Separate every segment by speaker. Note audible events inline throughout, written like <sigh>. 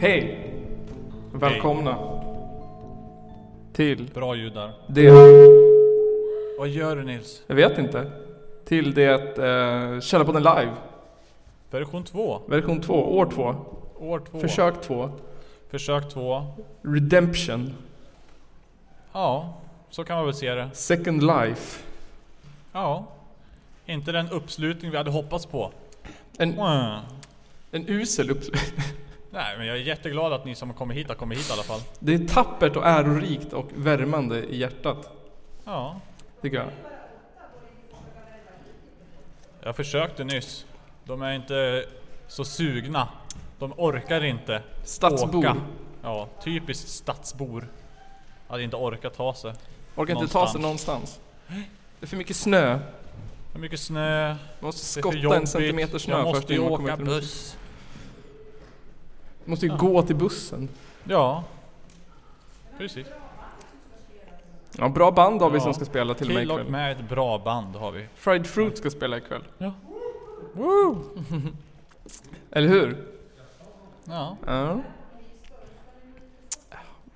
Speaker 1: Hej! Välkomna till
Speaker 2: Bra ljud där.
Speaker 1: det...
Speaker 2: Vad gör du Nils?
Speaker 1: Jag vet inte. Till det eh, Källarpodden live.
Speaker 2: Version 2.
Speaker 1: Version 2, år 2.
Speaker 2: År 2.
Speaker 1: Försök 2.
Speaker 2: Försök 2.
Speaker 1: Redemption.
Speaker 2: Ja, så kan man väl se det.
Speaker 1: Second life.
Speaker 2: Ja. Inte den uppslutning vi hade hoppats på.
Speaker 1: En,
Speaker 2: Mm.
Speaker 1: en usel upp... <laughs>
Speaker 2: Nej, men jag är jätteglad att ni som har kommit hit har kommit hit i alla fall.
Speaker 1: Det är tappert och ärorikt och värmande i hjärtat.
Speaker 2: Ja.
Speaker 1: Tycker jag.
Speaker 2: Jag försökte nyss. De är inte så sugna. De orkar inte.
Speaker 1: Stadsbor.
Speaker 2: Åka. Ja, typiskt stadsbor. Hade inte orkat ta sig.
Speaker 1: Orkar inte ta sig någonstans. Det är för mycket snö.
Speaker 2: Det är mycket snö.
Speaker 1: Man måste
Speaker 2: Det är
Speaker 1: skotta
Speaker 2: för
Speaker 1: en
Speaker 2: jobbigt.
Speaker 1: centimeter snö
Speaker 2: Jag
Speaker 1: först
Speaker 2: måste ju
Speaker 1: innan man
Speaker 2: åka
Speaker 1: kommer till
Speaker 2: buss.
Speaker 1: Man måste ju gå till bussen.
Speaker 2: Ja. Precis.
Speaker 1: Ja, bra band har vi
Speaker 2: Ja.
Speaker 1: som ska spela till och med
Speaker 2: Kill och
Speaker 1: ikväll.
Speaker 2: med ett bra band har vi.
Speaker 1: Fried Fruit ska spela ikväll.
Speaker 2: Ja.
Speaker 1: <laughs> Eller hur?
Speaker 2: Ja.
Speaker 1: Ja.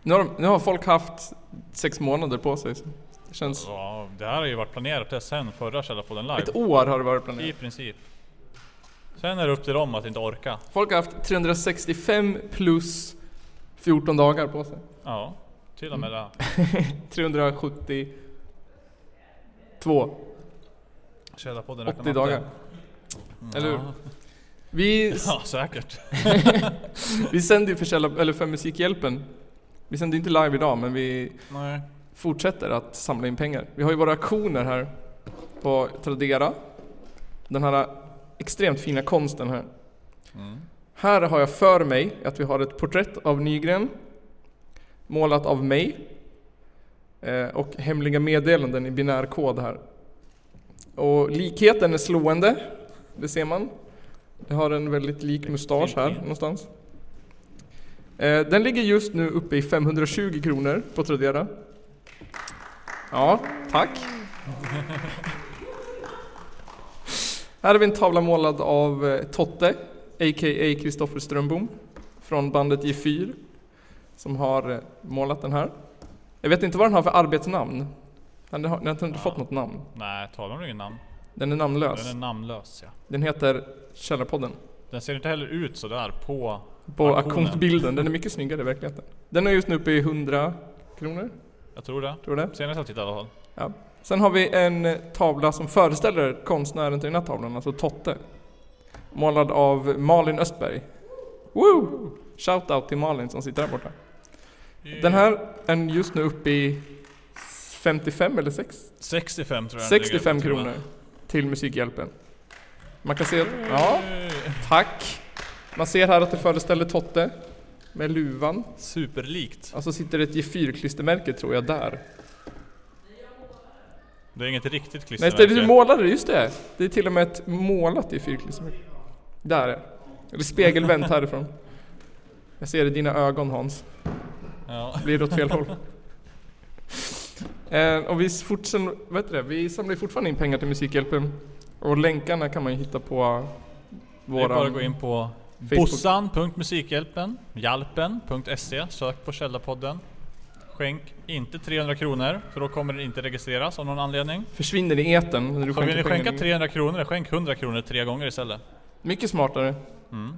Speaker 1: Nu har, de, nu har folk haft sex månader på sig. så Det känns...
Speaker 2: ja. Det här har ju varit planerat sen förra Källarpodden live.
Speaker 1: Ett år har det varit
Speaker 2: I
Speaker 1: planerat.
Speaker 2: princip. Sen är det upp till dem att inte orka.
Speaker 1: Folk har haft 365 plus 14 dagar på sig.
Speaker 2: Ja. Till och med
Speaker 1: Mm.
Speaker 2: det.
Speaker 1: 372.
Speaker 2: Källarpodden
Speaker 1: 80 dagar. Eller hur?
Speaker 2: Mm. Ja. <laughs>
Speaker 1: Vi,
Speaker 2: Ja, säkert.
Speaker 1: vi sänder ju för, källa, eller för Musikhjälpen. Vi sänder inte live idag, men vi
Speaker 2: Nej.
Speaker 1: fortsätter att samla in pengar. Vi har ju våra auktioner här på Tradera. Den här extremt fina konsten här.
Speaker 2: Mm.
Speaker 1: Här har jag för mig att vi har ett porträtt av Nygren målat av mig eh, och hemliga meddelanden i binär kod här. Och likheten är slående, det ser man. Det har en väldigt lik mustasch här
Speaker 2: fin.
Speaker 1: någonstans. Eh, Den ligger just nu uppe i 520 kronor på Tradera. Ja, tack. Här har vi en tavla målad av eh, Totte, a.k.a. Kristoffer Strömbom, från bandet G4, som har eh, målat den här. Jag vet inte vad den har för arbetsnamn. Den har, den har inte
Speaker 2: Ja.
Speaker 1: fått något namn.
Speaker 2: Nej, talar om ingen namn.
Speaker 1: Den är namnlös.
Speaker 2: Den är namnlös ja.
Speaker 1: Den heter Källarpodden.
Speaker 2: Den ser inte heller ut sådär på...
Speaker 1: På
Speaker 2: Auktionen.
Speaker 1: auktionsbilden, den är mycket snyggare i verkligheten. Den är just nu uppe i 100 kronor,
Speaker 2: Jag tror det.
Speaker 1: tror jag det är.
Speaker 2: Senast jag tittade i alla fall.
Speaker 1: Sen har vi en eh, tavla som föreställer konstnären till den här tavlan, alltså Totte. Målad av Malin Östberg. Woo! Shoutout till Malin som sitter där borta. Den här är just nu uppe i 55 eller 6,
Speaker 2: 65 tror jag den ligger
Speaker 1: 65
Speaker 2: på, tror jag.
Speaker 1: kronor till Musikhjälpen. Man kan se att, ja, tack. Man ser här att det föreställer Totte med luvan.
Speaker 2: Superlikt.
Speaker 1: Alltså sitter ett G4-klistermärke tror jag där.
Speaker 2: Det är inget riktigt
Speaker 1: Nej,
Speaker 2: klistermärke.
Speaker 1: det är du målade, just det! Det är till och med ett målat G4-klistermärke. Där ja. Det är spegelvänt härifrån. Jag ser i dina ögon Hans.
Speaker 2: Ja.
Speaker 1: Blir det åt fel håll. Eh, och vi, fortsen, vad heter det? vi samlar ju fortfarande in pengar till Musikhjälpen. Och länkarna kan man ju hitta på
Speaker 2: Det är bara
Speaker 1: våran...
Speaker 2: att gå in på
Speaker 1: Facebook.
Speaker 2: bossan.musikhjälpen, hjalpen.se, sök på Källarpodden. Skänk inte 300 kronor, för då kommer det inte registreras av någon anledning.
Speaker 1: Försvinner i etern när du
Speaker 2: Så vill
Speaker 1: skänker
Speaker 2: ni skänka
Speaker 1: pengar.
Speaker 2: 300 kronor, skänk 100 kronor tre gånger istället.
Speaker 1: Mycket smartare.
Speaker 2: Mm.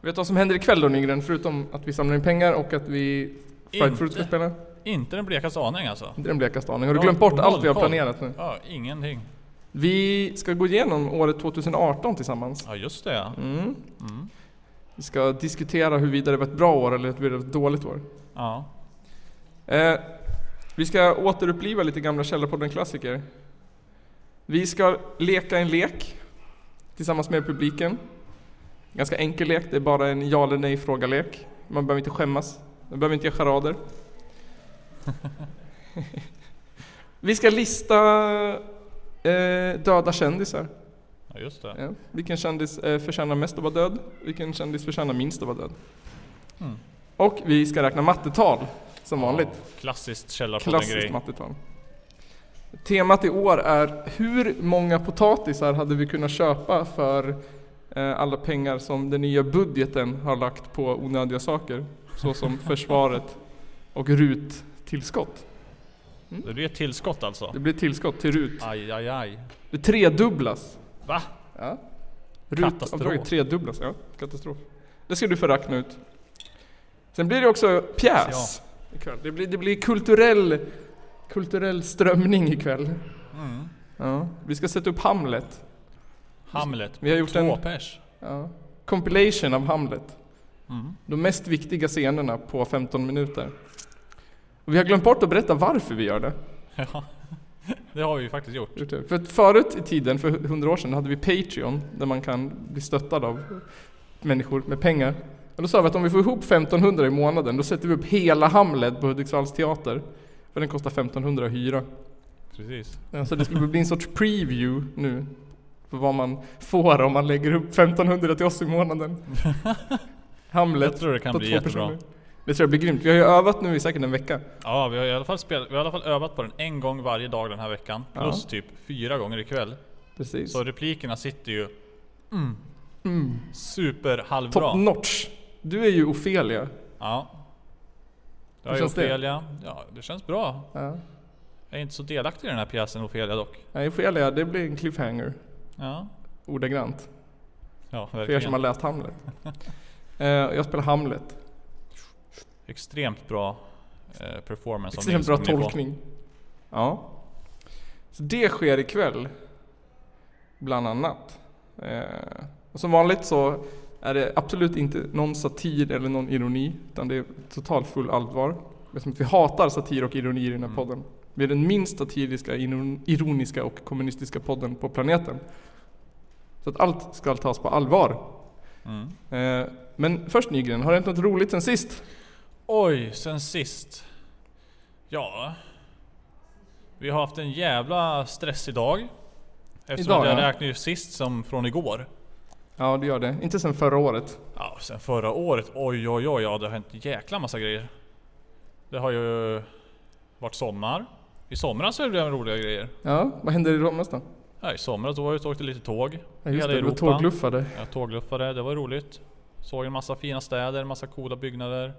Speaker 1: Vet du vad som händer ikväll då Nygren? Förutom att vi samlar in pengar och att vi... Fried
Speaker 2: Inte.
Speaker 1: Fruit ska spela?
Speaker 2: Inte den blekaste aning alltså.
Speaker 1: Inte den blekaste aning. Har du
Speaker 2: Ja,
Speaker 1: glömt bort
Speaker 2: noll
Speaker 1: allt vi har
Speaker 2: koll.
Speaker 1: planerat nu?
Speaker 2: Ja, ingenting.
Speaker 1: Vi ska gå igenom året 2018 tillsammans.
Speaker 2: Ja, just det ja.
Speaker 1: Mm.
Speaker 2: Mm.
Speaker 1: Vi ska diskutera huruvida det var ett bra år eller huruvida det var ett dåligt år.
Speaker 2: ja.
Speaker 1: Eh, vi ska återuppliva lite gamla Källarpodden-klassiker. Vi ska leka en lek tillsammans med publiken. Ganska enkel lek, det är bara en ja eller nej-fråga-lek. Man behöver inte skämmas, man behöver inte göra charader. <laughs> Vi ska lista eh, döda kändisar.
Speaker 2: Ja, just det.
Speaker 1: Ja. Vilken kändis eh, förtjänar mest att vara död? Vilken kändis förtjänar minst att vara död?
Speaker 2: Mm.
Speaker 1: Och vi ska räkna mattetal, som vanligt.
Speaker 2: Ja, klassiskt källarpodden-grej.
Speaker 1: Klassiskt mattetal. Temat i år är hur många potatisar hade vi kunnat köpa för eh, alla pengar som den nya budgeten har lagt på onödiga saker, såsom försvaret och RUT-tillskott.
Speaker 2: Det blir ett tillskott alltså.
Speaker 1: Det blir tillskott till RUT.
Speaker 2: Aj, aj, aj.
Speaker 1: Det tredubblas.
Speaker 2: Va?
Speaker 1: Ja.
Speaker 2: Katastrof.
Speaker 1: RUT-avdraget tredubblas, ja. Katastrof. Det ska du få räkna ut. Sen blir det också pjäs ikväll. Det blir, det blir kulturell, kulturell strömning ikväll.
Speaker 2: Mm.
Speaker 1: Ja. Vi ska sätta upp Hamlet.
Speaker 2: Hamlet.
Speaker 1: Vi har gjort
Speaker 2: Två
Speaker 1: en
Speaker 2: pers.
Speaker 1: ja. compilation av Hamlet.
Speaker 2: Mm.
Speaker 1: De mest viktiga scenerna på 15 minuter. Och vi har glömt bort att berätta varför vi gör det.
Speaker 2: Ja. <laughs> Det har vi ju faktiskt gjort.
Speaker 1: Gjort det. Typ. För att förut i tiden, för hundra år sedan, hade vi Patreon där man kan bli stöttad av människor med pengar. Och då sa vi att om vi får ihop 1500 i månaden, då sätter vi upp hela Hamlet på Hudiksvalls teater. För den kostar 1500 att hyra.
Speaker 2: Precis.
Speaker 1: Ja, Så det skulle bli en sorts preview nu. För vad man får om man lägger upp 1500 till oss i
Speaker 2: <laughs>
Speaker 1: månaden.
Speaker 2: Jag
Speaker 1: Hamlet
Speaker 2: tror det kan
Speaker 1: på
Speaker 2: bli
Speaker 1: två personer.
Speaker 2: jättebra.
Speaker 1: Det tror jag blir grymt. Vi har ju övat nu i säkert en vecka.
Speaker 2: Ja, vi har, i alla fall spelat, vi har i alla fall övat på den en gång varje dag den här veckan.
Speaker 1: Ja.
Speaker 2: Plus typ fyra gånger ikväll.
Speaker 1: Precis.
Speaker 2: Så replikerna sitter ju
Speaker 1: Mm. Top
Speaker 2: superhalvbra.
Speaker 1: notch. Du är ju Ofelia.
Speaker 2: Ja. Jag
Speaker 1: Hur
Speaker 2: är
Speaker 1: känns det?
Speaker 2: Ofelia. Ja, det känns bra.
Speaker 1: Ja.
Speaker 2: Jag är inte så delaktig i den här pjäsen Ofelia dock.
Speaker 1: Nej, Ofelia, det blir en cliffhanger.
Speaker 2: Ja,
Speaker 1: Ordagrant.
Speaker 2: ja
Speaker 1: För er
Speaker 2: verkligen.
Speaker 1: som har läst Hamlet.
Speaker 2: <laughs>
Speaker 1: Eh, jag spelar Hamlet.
Speaker 2: Alltså, Extremt bra eh, performance av
Speaker 1: Extremt
Speaker 2: Nils
Speaker 1: bra
Speaker 2: kommer ni få.
Speaker 1: tolkning. Ja. Så det sker ikväll. Bland annat. Eh, och som vanligt så är det absolut inte någon satir eller någon ironi. Utan det är totalt full allvar. Det är som att vi hatar satir och ironi i den här
Speaker 2: Mm.
Speaker 1: podden. Vi är den minst satiriska, iron- ironiska och kommunistiska podden på planeten. Så att allt ska tas på allvar.
Speaker 2: Mm.
Speaker 1: Eh, Men först Nygren, har det hänt något roligt sen sist?
Speaker 2: Oj, sen sist. Ja. Vi har haft en jävla stress idag. Eftersom
Speaker 1: Idag,
Speaker 2: idag, jag
Speaker 1: ja.
Speaker 2: räknar ju sist som från igår.
Speaker 1: Ja, det gör det. Inte sen förra året.
Speaker 2: Ja, sen förra året. Oj, oj, oj. Ja, det har hänt en jäkla massa grejer. Det har ju varit sommar. I somras så blev det roliga grejer.
Speaker 1: Ja, vad hände i Romas då?
Speaker 2: Ja, I somras då var jag ute och åkte lite tåg.
Speaker 1: Ja, just
Speaker 2: Hela
Speaker 1: det, du var
Speaker 2: Europa.
Speaker 1: tågluffade.
Speaker 2: Jag tågluffade, det var roligt. Såg en massa fina städer, en massa coola byggnader.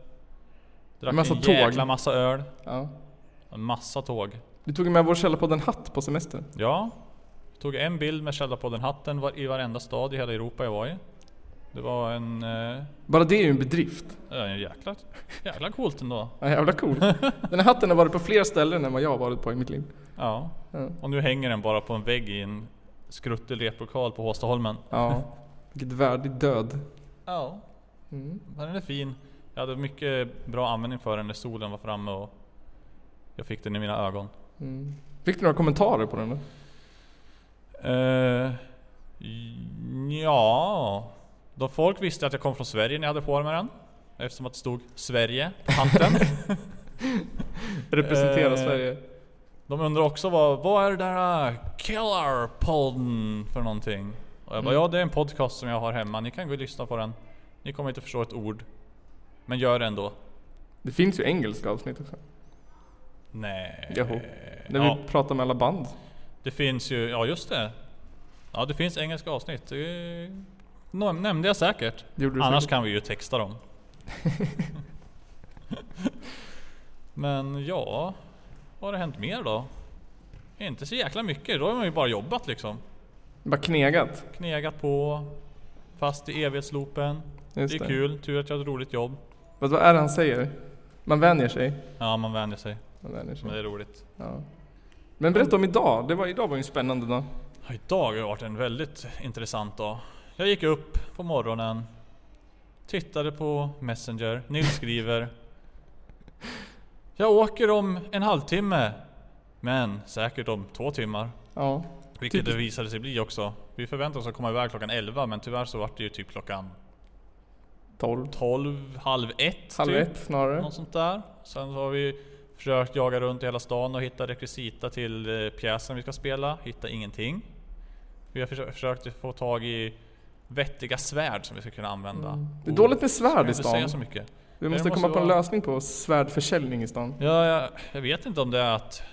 Speaker 2: Drack
Speaker 1: En massa
Speaker 2: en
Speaker 1: tåg.
Speaker 2: jäkla massa öl.
Speaker 1: Ja.
Speaker 2: En massa tåg.
Speaker 1: Du tog med vår källarpodden Hatt på semester.
Speaker 2: Ja. Tog en bild med Källarpodden-hatten var- i varenda stad i hela Europa jag var i. Det var en... Eh,
Speaker 1: Bara det är ju en bedrift.
Speaker 2: en jäkla, jäkla coolt ändå.
Speaker 1: Ja, jävla <laughs> cool. Den här hatten har varit på fler ställen än vad jag har varit på i mitt liv.
Speaker 2: Ja.
Speaker 1: Ja.
Speaker 2: Och nu hänger den bara på en vägg i en skruttig replokal på Håstaholmen.
Speaker 1: Ja. Vilket värdig död.
Speaker 2: Ja.
Speaker 1: Mm.
Speaker 2: Men den är fin. Jag hade mycket bra användning för den när solen var framme och jag fick den i mina ögon.
Speaker 1: Mm. Fick du några kommentarer på den då?
Speaker 2: Eh, ja. Då folk visste att jag kom från Sverige när jag hade på mig den. Eftersom att det stod Sverige på hanten.
Speaker 1: Representera
Speaker 2: Eh.
Speaker 1: Sverige.
Speaker 2: De undrar också vad, vad är det där äh, Killarpodden för någonting? Och jag bara,
Speaker 1: Mm.
Speaker 2: ja det är en podcast som jag har hemma, ni kan gå och lyssna på den. Ni kommer inte förstå ett ord. Men gör det ändå.
Speaker 1: Det finns ju engelska avsnitt också.
Speaker 2: Nej.
Speaker 1: Joho. När
Speaker 2: Ja,
Speaker 1: vi pratar med alla band.
Speaker 2: det finns ju, ja just det. Ja det finns engelska avsnitt. Det nå- nämnde jag säkert.
Speaker 1: Det gjorde du
Speaker 2: Annars
Speaker 1: säkert.
Speaker 2: kan vi ju
Speaker 1: <laughs>
Speaker 2: texta dem. Men ja, vad har det hänt mer då? Inte så jäkla mycket, då har man ju bara jobbat liksom.
Speaker 1: Bara knegat.
Speaker 2: Knegat på, fast i evighetsloopen.
Speaker 1: Just
Speaker 2: det är kul, tur att jag har ett roligt jobb.
Speaker 1: Vad vad är det han säger? Man vänjer sig.
Speaker 2: Ja, man vänjer sig.
Speaker 1: Man vänjer sig.
Speaker 2: Men det är roligt.
Speaker 1: Ja. Men berätta om idag. Det var, idag var ju en spännande dag.
Speaker 2: Ja, Idag har det varit en väldigt intressant dag. Jag gick upp på morgonen, tittade på Messenger, Nils skriver. Jag åker om en halvtimme, men säkert om två timmar.
Speaker 1: Ja.
Speaker 2: Vilket det
Speaker 1: Typiskt.
Speaker 2: visade sig bli också. Vi förväntade oss att komma iväg klockan 11 men tyvärr så var det ju typ klockan
Speaker 1: 12.
Speaker 2: 12, halv ett.
Speaker 1: Halv
Speaker 2: typ.
Speaker 1: ett snarare.
Speaker 2: Något sånt där. Sen var vi Försökt jaga runt i hela stan och hitta rekvisita till eh, pjäsen vi ska spela. Hitta ingenting. Vi har försö- försökt få tag i vettiga svärd som vi ska kunna använda.
Speaker 1: Mm. Det är dåligt med svärd i
Speaker 2: Jag kan inte säga
Speaker 1: stan.
Speaker 2: så mycket.
Speaker 1: Vi måste
Speaker 2: måste
Speaker 1: komma på en
Speaker 2: vara-
Speaker 1: lösning på svärdförsäljning i stan.
Speaker 2: Ja, jag, jag vet inte om det är att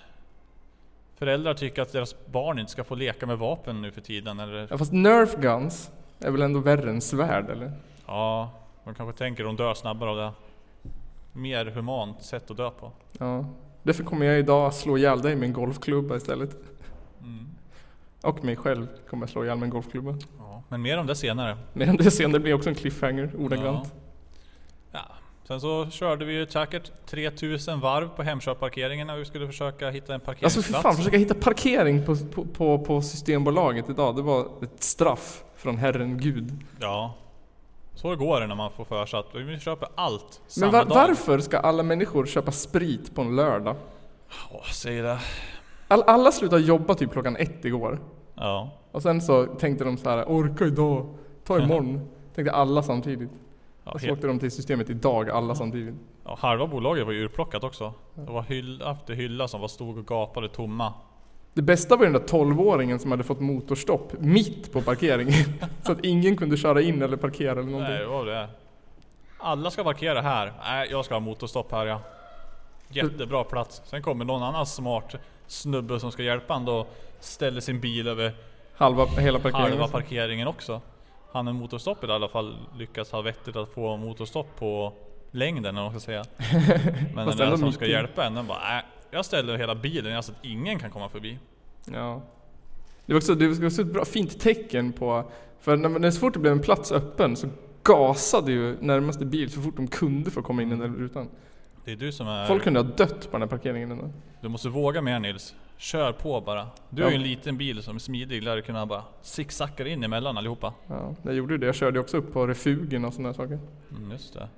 Speaker 2: föräldrar tycker att deras barn inte ska få leka med vapen nu för tiden. Eller,
Speaker 1: Ja, fast nerf guns är väl ändå värre än svärd eller?
Speaker 2: ja, de kanske tänker att de dör snabbare av det. Mer humant sätt att dö på.
Speaker 1: Ja. Därför kommer jag idag slå ihjäl dig med en golfklubba istället.
Speaker 2: Mm.
Speaker 1: Och mig själv kommer jag slå ihjäl med en golfklubba.
Speaker 2: Ja, men mer om det senare.
Speaker 1: Men det sen, det blir också en cliffhanger ordagrant.
Speaker 2: Ja. Ja. Sen så körde vi ju säkert 3000 varv på Hemköpparkeringen när vi skulle försöka hitta en parkeringsplats.
Speaker 1: Alltså för fan, försöka hitta parkering på, på, på, på Systembolaget idag, det var ett straff från Herren Gud.
Speaker 2: Ja. Så går det när man får för sig att vi köper allt samma
Speaker 1: Men var,
Speaker 2: dag.
Speaker 1: varför ska alla människor köpa sprit på en lördag?
Speaker 2: Ja, säg det.
Speaker 1: All, alla slutade jobba typ klockan ett igår.
Speaker 2: Ja.
Speaker 1: Och sen så tänkte de så här, orka idag, ta
Speaker 2: <laughs>
Speaker 1: imorgon. tänkte alla samtidigt.
Speaker 2: Ja,
Speaker 1: Och så
Speaker 2: helt-
Speaker 1: åkte de till systemet idag, alla samtidigt.
Speaker 2: Ja, halva bolaget var ju urplockat också. Det var hylla efter hylla som var stod och gapade tomma.
Speaker 1: Det bästa var ju den där 12-åringen som hade fått motorstopp mitt på parkeringen.
Speaker 2: <laughs>
Speaker 1: så att ingen kunde köra in eller parkera eller någonting.
Speaker 2: Nej, det var det. Alla ska parkera här. Nej, jag ska ha motorstopp här ja. Jättebra plats. Sen kommer någon annan smart snubbe som ska hjälpa han då ställer sin bil över
Speaker 1: Halva, hela parkeringen.
Speaker 2: halva parkeringen också. Han med motorstoppet i alla fall lyckas ha vettigt att få motorstopp på längden eller vad man
Speaker 1: <laughs>
Speaker 2: ska säga. Men den
Speaker 1: Fast
Speaker 2: där
Speaker 1: ändå
Speaker 2: som
Speaker 1: mitt
Speaker 2: ska
Speaker 1: i.
Speaker 2: hjälpa en den bara nej, jag ställer hela bilen så att ingen kan komma förbi.
Speaker 1: Ja. Det var också, det var också ett bra, fint tecken på... För när, när så fort det blev en plats öppen så gasade ju närmaste bil så fort de kunde för att komma in i den där rutan.
Speaker 2: Det är du som är...
Speaker 1: Folk kunde ha dött på den här parkeringen. ändå.
Speaker 2: Du måste våga mer Nils. Kör på bara. Du
Speaker 1: Ja.
Speaker 2: har ju en liten bil som är smidig, lär du kunna bara zigzacka in emellan allihopa.
Speaker 1: Ja, jag gjorde ju det. Jag körde ju också upp på refugen och sådana här saker.
Speaker 2: Mm, just det.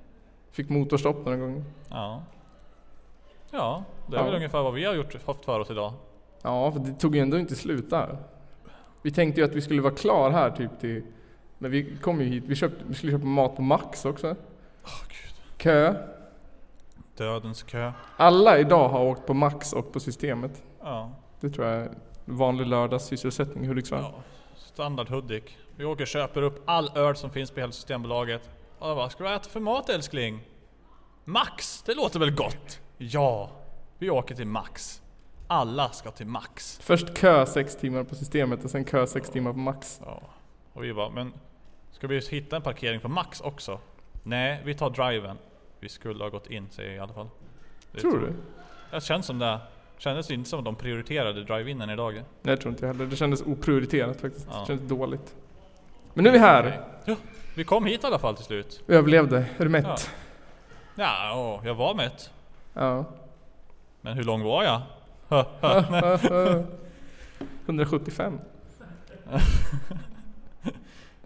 Speaker 1: Fick motorstopp några gånger.
Speaker 2: Ja. Ja, det är
Speaker 1: Ja.
Speaker 2: väl ungefär vad vi har gjort, haft för oss idag.
Speaker 1: Ja, för det tog ju ändå inte slut där. Vi tänkte ju att vi skulle vara klar här typ till... Men vi kom ju hit. Vi, köpte, vi skulle köpa mat på Max också.
Speaker 2: Åh gud.
Speaker 1: Kö.
Speaker 2: Dödens kö.
Speaker 1: Alla idag har åkt på Max och på Systemet.
Speaker 2: Ja.
Speaker 1: Det tror jag är vanlig lördagssysselsättning i Hudiksvall.
Speaker 2: ja. Standard Hudik. Vi åker och köper upp all öl som finns på hela Systembolaget. Och jag bara, ska du äta för mat älskling? Max! Det låter väl gott? Ja. Vi åker till Max. Alla ska till Max.
Speaker 1: Först kö sex timmar på Systemet och sen kö sex timmar på Max.
Speaker 2: Ja. Och vi bara, men ska vi hitta en parkering på Max också? Nej, vi tar driven. Vi skulle ha gått in säger jag i alla fall. Det
Speaker 1: Tror du?
Speaker 2: Det känns som det. Kändes inte som att de prioriterade drive-inen idag.
Speaker 1: Nej, jag tror inte jag heller. Det kändes oprioriterat faktiskt.
Speaker 2: Ja.
Speaker 1: Det kändes dåligt. Men nu är vi här.
Speaker 2: Ja, vi kom hit i alla fall till slut.
Speaker 1: Vi överlevde. Är du mätt?
Speaker 2: Ja. Ja, åh, jag var mätt.
Speaker 1: Ja.
Speaker 2: Men hur lång var jag? <laughs>
Speaker 1: <laughs> 175?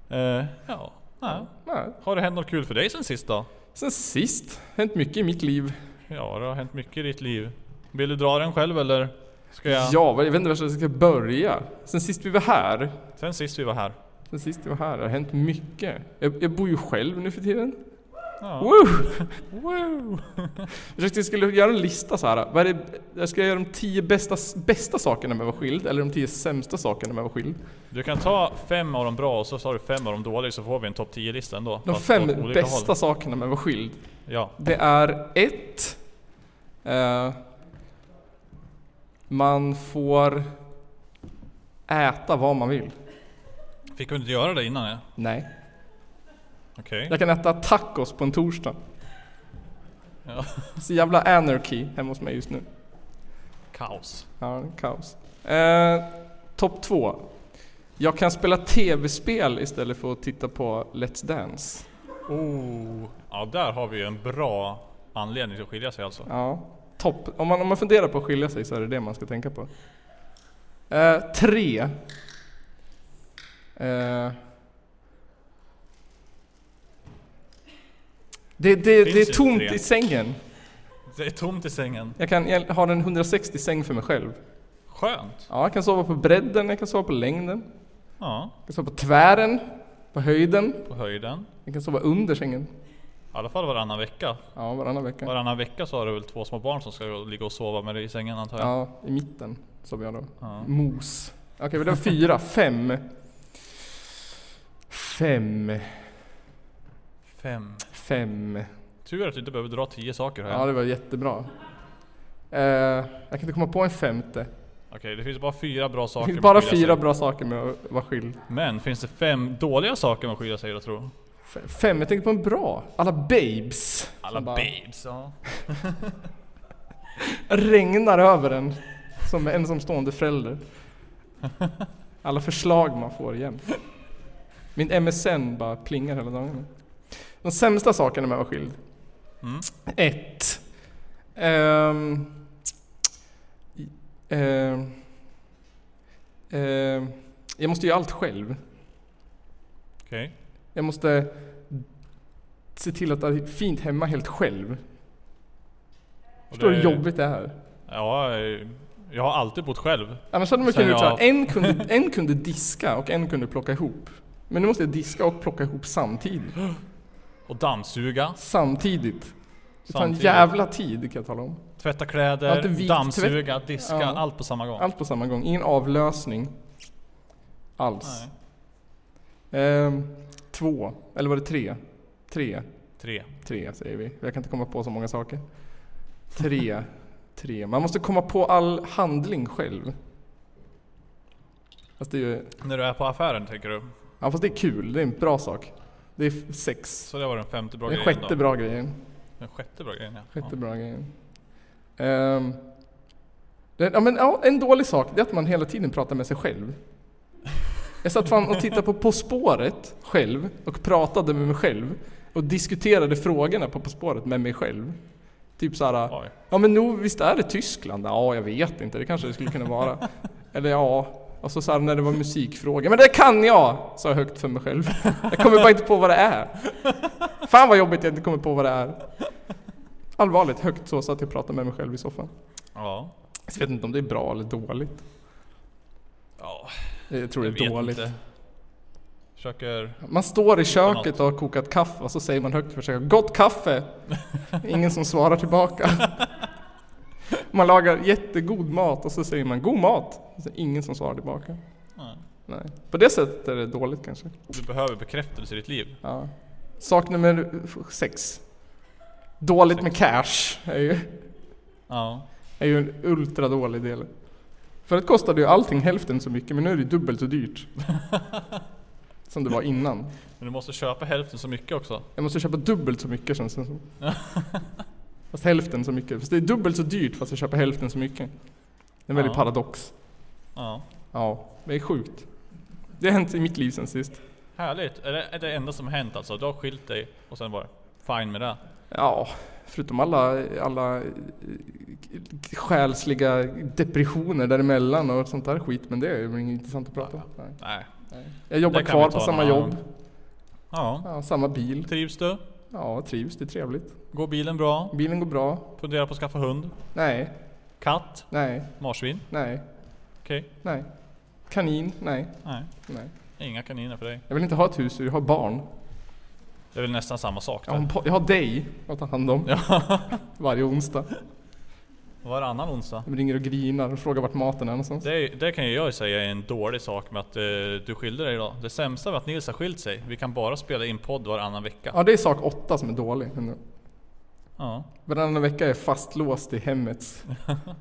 Speaker 2: Eh, ja, nej.
Speaker 1: Nej.
Speaker 2: Har det hänt något kul för dig sen sist då?
Speaker 1: Sen sist. Hänt mycket i mitt liv.
Speaker 2: Ja, det har hänt mycket i ditt liv. Vill du dra den själv eller? Ska jag?
Speaker 1: Ja, vad- jag vet inte var jag ska börja. Sen sist vi var här.
Speaker 2: Sen sist vi var här.
Speaker 1: Sen sist vi var här har det hänt mycket. Jag, jag bor ju själv nu för tiden.
Speaker 2: Ja.
Speaker 1: Woo!
Speaker 2: Woo!
Speaker 1: <laughs> Jag försökte jag skulle göra en lista så här. Vad är det, jag ska göra de tio bästa, bästa sakerna med att vara skild, eller de tio sämsta sakerna med att vara skild.
Speaker 2: Du kan ta fem av de bra och så tar du fem av de dåliga så får vi en topp 10-lista ändå.
Speaker 1: De
Speaker 2: Fast
Speaker 1: fem
Speaker 2: åt olika
Speaker 1: bästa
Speaker 2: håll.
Speaker 1: sakerna med att vara skild.
Speaker 2: Ja.
Speaker 1: Det är ett. Eh, man får äta vad man vill.
Speaker 2: Fick du inte göra det innan? ja?
Speaker 1: Nej.
Speaker 2: Okej.
Speaker 1: Jag kan äta tacos på en torsdag.
Speaker 2: Ja.
Speaker 1: Så jävla anarchy hemma hos mig just nu.
Speaker 2: Kaos.
Speaker 1: Ja, det är kaos. Eh, Topp två. Jag kan spela tv-spel istället för att titta på Let's Dance.
Speaker 2: Oh. Ja, där har vi ju en bra anledning till att skilja sig alltså.
Speaker 1: Ja, topp. Om man, om man funderar på att skilja sig så är det det man ska tänka på. Eh, tre. Eh, det, det,
Speaker 2: Finns
Speaker 1: det är
Speaker 2: inte
Speaker 1: tomt
Speaker 2: tre.
Speaker 1: i sängen.
Speaker 2: Det är tomt i sängen.
Speaker 1: Jag kan jag har en 160 säng för mig själv.
Speaker 2: Skönt.
Speaker 1: Ja, jag kan sova på bredden, jag kan sova på längden.
Speaker 2: Ja,
Speaker 1: Jag kan sova på tvären, på höjden.
Speaker 2: på höjden.
Speaker 1: Jag kan sova under sängen.
Speaker 2: I alla fall varannan vecka.
Speaker 1: Ja, varannan vecka.
Speaker 2: Varannan vecka så har du väl två små barn som ska gå- ligga och sova med dig i sängen antar jag?
Speaker 1: Ja, i mitten som jag då.
Speaker 2: Ja.
Speaker 1: Mos. Okej, vi har fyra, fem. Fem,
Speaker 2: Fem.
Speaker 1: fem.
Speaker 2: Tur att du inte behöver dra tio saker här.
Speaker 1: Ja, det var jättebra. Eh, jag kan inte komma på en femte.
Speaker 2: Okej, det finns bara fyra bra
Speaker 1: Det
Speaker 2: saker
Speaker 1: finns
Speaker 2: med
Speaker 1: bara
Speaker 2: att skilja
Speaker 1: fyra
Speaker 2: sig.
Speaker 1: bra saker med att vara skild.
Speaker 2: Men finns det fem dåliga saker med att skilja sig då tror jag?
Speaker 1: F- Fem, jag tänker på en bra. Alla babes.
Speaker 2: Alla
Speaker 1: som bara
Speaker 2: babes. Ja.
Speaker 1: Regnar över en. Som ensamstående förälder. Alla förslag man får igen. Min MSN bara plingar hela dagen. De sämsta sakerna med att vara skild.
Speaker 2: Mm.
Speaker 1: Ett. Ehm, i- ehm, ehm, jag måste göra allt själv.
Speaker 2: Okej.
Speaker 1: Jag måste se till att det är fint hemma helt själv.
Speaker 2: Och
Speaker 1: Förstår du
Speaker 2: det-
Speaker 1: hur jobbigt det är?
Speaker 2: Ja, eh, jag har alltid bott själv.
Speaker 1: Annars hade man
Speaker 2: Sen
Speaker 1: kunnat gjort
Speaker 2: jag-
Speaker 1: såhär, en kunde, en kunde diska och en kunde plocka ihop. Men nu måste jag diska och plocka ihop samtidigt.
Speaker 2: Och dammsuga,
Speaker 1: Samtidigt. Det tar en
Speaker 2: Samtidigt.
Speaker 1: jävla tid kan jag tala om.
Speaker 2: tvätta
Speaker 1: Jag har inte
Speaker 2: kläder,
Speaker 1: vikt
Speaker 2: dammsuga, diska,
Speaker 1: Ja.
Speaker 2: allt på samma gång.
Speaker 1: Allt på samma gång, ingen avlösning. Alls.
Speaker 2: Nej.
Speaker 1: Ehm, två, eller var det tre? Tre,
Speaker 2: Tre.
Speaker 1: tre säger vi. Jag kan inte komma på så många saker. Tre, tre. Man måste komma på all handling själv. Fast det är ju,
Speaker 2: När du är på affären tänker du.
Speaker 1: ja fast det är kul, det är en bra sak. Det är f- sex.
Speaker 2: Så det var den femte bra
Speaker 1: Det är
Speaker 2: grejen
Speaker 1: sjätte
Speaker 2: då.
Speaker 1: bra grejen.
Speaker 2: Den sjätte bra grejen ja.
Speaker 1: Sjätte bra grejen. Ehm, det, ja, men, ja, en dålig sak det är att man hela tiden pratar med sig själv. Jag satt fan och tittade på På spåret själv och pratade med mig själv och diskuterade frågorna på På spåret med mig själv. Typ såhär,
Speaker 2: Ja. Oj.
Speaker 1: ja men nog visst är det Tyskland? Ja, jag vet inte, det kanske det skulle kunna vara.
Speaker 2: <laughs>
Speaker 1: Eller ja, och så såhär när det var musikfråga, men det kan jag! Sa jag högt för mig själv. <laughs> Jag kommer bara inte på vad det är.
Speaker 2: <laughs>
Speaker 1: Fan vad jobbigt jag inte kommer på vad det är. Allvarligt högt så satt jag och pratade med mig själv i soffan.
Speaker 2: Ja.
Speaker 1: Jag vet inte om det är bra eller dåligt.
Speaker 2: Ja,
Speaker 1: Jag tror det
Speaker 2: jag
Speaker 1: är
Speaker 2: vet
Speaker 1: dåligt.
Speaker 2: inte. Försöker...
Speaker 1: Man står i köket
Speaker 2: något.
Speaker 1: och har kokat kaffe och så säger man högt för sig själv, Gott kaffe! <laughs> Ingen som svarar tillbaka. Man lagar jättegod mat och så säger man God mat! Och så är det ingen som svarar tillbaka.
Speaker 2: Nej.
Speaker 1: Nej. På det sättet är det dåligt kanske.
Speaker 2: Du behöver bekräftelse i ditt liv.
Speaker 1: Ja. Sak nummer sex. Dåligt med cash är ju,
Speaker 2: Ja. <laughs>
Speaker 1: är ju en ultradålig del. Förut kostade ju allting hälften så mycket men nu är det dubbelt så dyrt. Som det var innan.
Speaker 2: Men du måste köpa hälften så mycket också.
Speaker 1: Jag måste köpa dubbelt så mycket känns det som. Fast hälften så mycket. Fast det är dubbelt så dyrt fast jag köper hälften så mycket. Det är en väldig
Speaker 2: Ja.
Speaker 1: paradox.
Speaker 2: Ja.
Speaker 1: Ja, det är sjukt. Det har hänt i mitt liv sen sist.
Speaker 2: Härligt. Är det, är det enda som hänt alltså? Du har skilt dig och sen bara fine med det.
Speaker 1: Ja, förutom alla, alla eh, själsliga depressioner däremellan och sånt där skit. Men det är ju inget intressant att prata om. Nej.
Speaker 2: Nej.
Speaker 1: Jag jobbar
Speaker 2: Det kan
Speaker 1: kvar
Speaker 2: vi
Speaker 1: på
Speaker 2: ta
Speaker 1: samma
Speaker 2: någon
Speaker 1: jobb.
Speaker 2: annan Ja.
Speaker 1: Ja, samma bil.
Speaker 2: Trivs du?
Speaker 1: Ja, trivs. Det är trevligt.
Speaker 2: Går bilen bra?
Speaker 1: Bilen går bra.
Speaker 2: Funderar på att skaffa hund?
Speaker 1: Nej,
Speaker 2: Katt?
Speaker 1: nej,
Speaker 2: Marsvin?
Speaker 1: nej,
Speaker 2: Okej.
Speaker 1: nej. Kanin? Nej,
Speaker 2: Nej.
Speaker 1: nej.
Speaker 2: Inga kaniner för dig.
Speaker 1: Jag vill inte ha ett husdjur, jag har barn.
Speaker 2: Det är väl nästan samma sak
Speaker 1: Jag har,
Speaker 2: där.
Speaker 1: en po- jag har dig att ta hand om
Speaker 2: <laughs> Ja.
Speaker 1: varje onsdag.
Speaker 2: Varannan onsdag.
Speaker 1: De ringer och grinar och frågar vart maten är någonstans.
Speaker 2: Det, är- det kan ju jag säga är en dålig sak med att eh, du skilde dig idag. Det sämsta med att Nils har skilt sig. Vi kan bara spela in podd varannan vecka.
Speaker 1: Ja, det är sak åtta som är dålig.
Speaker 2: Ja.
Speaker 1: Varannan vecka är jag fastlåst i hemmets...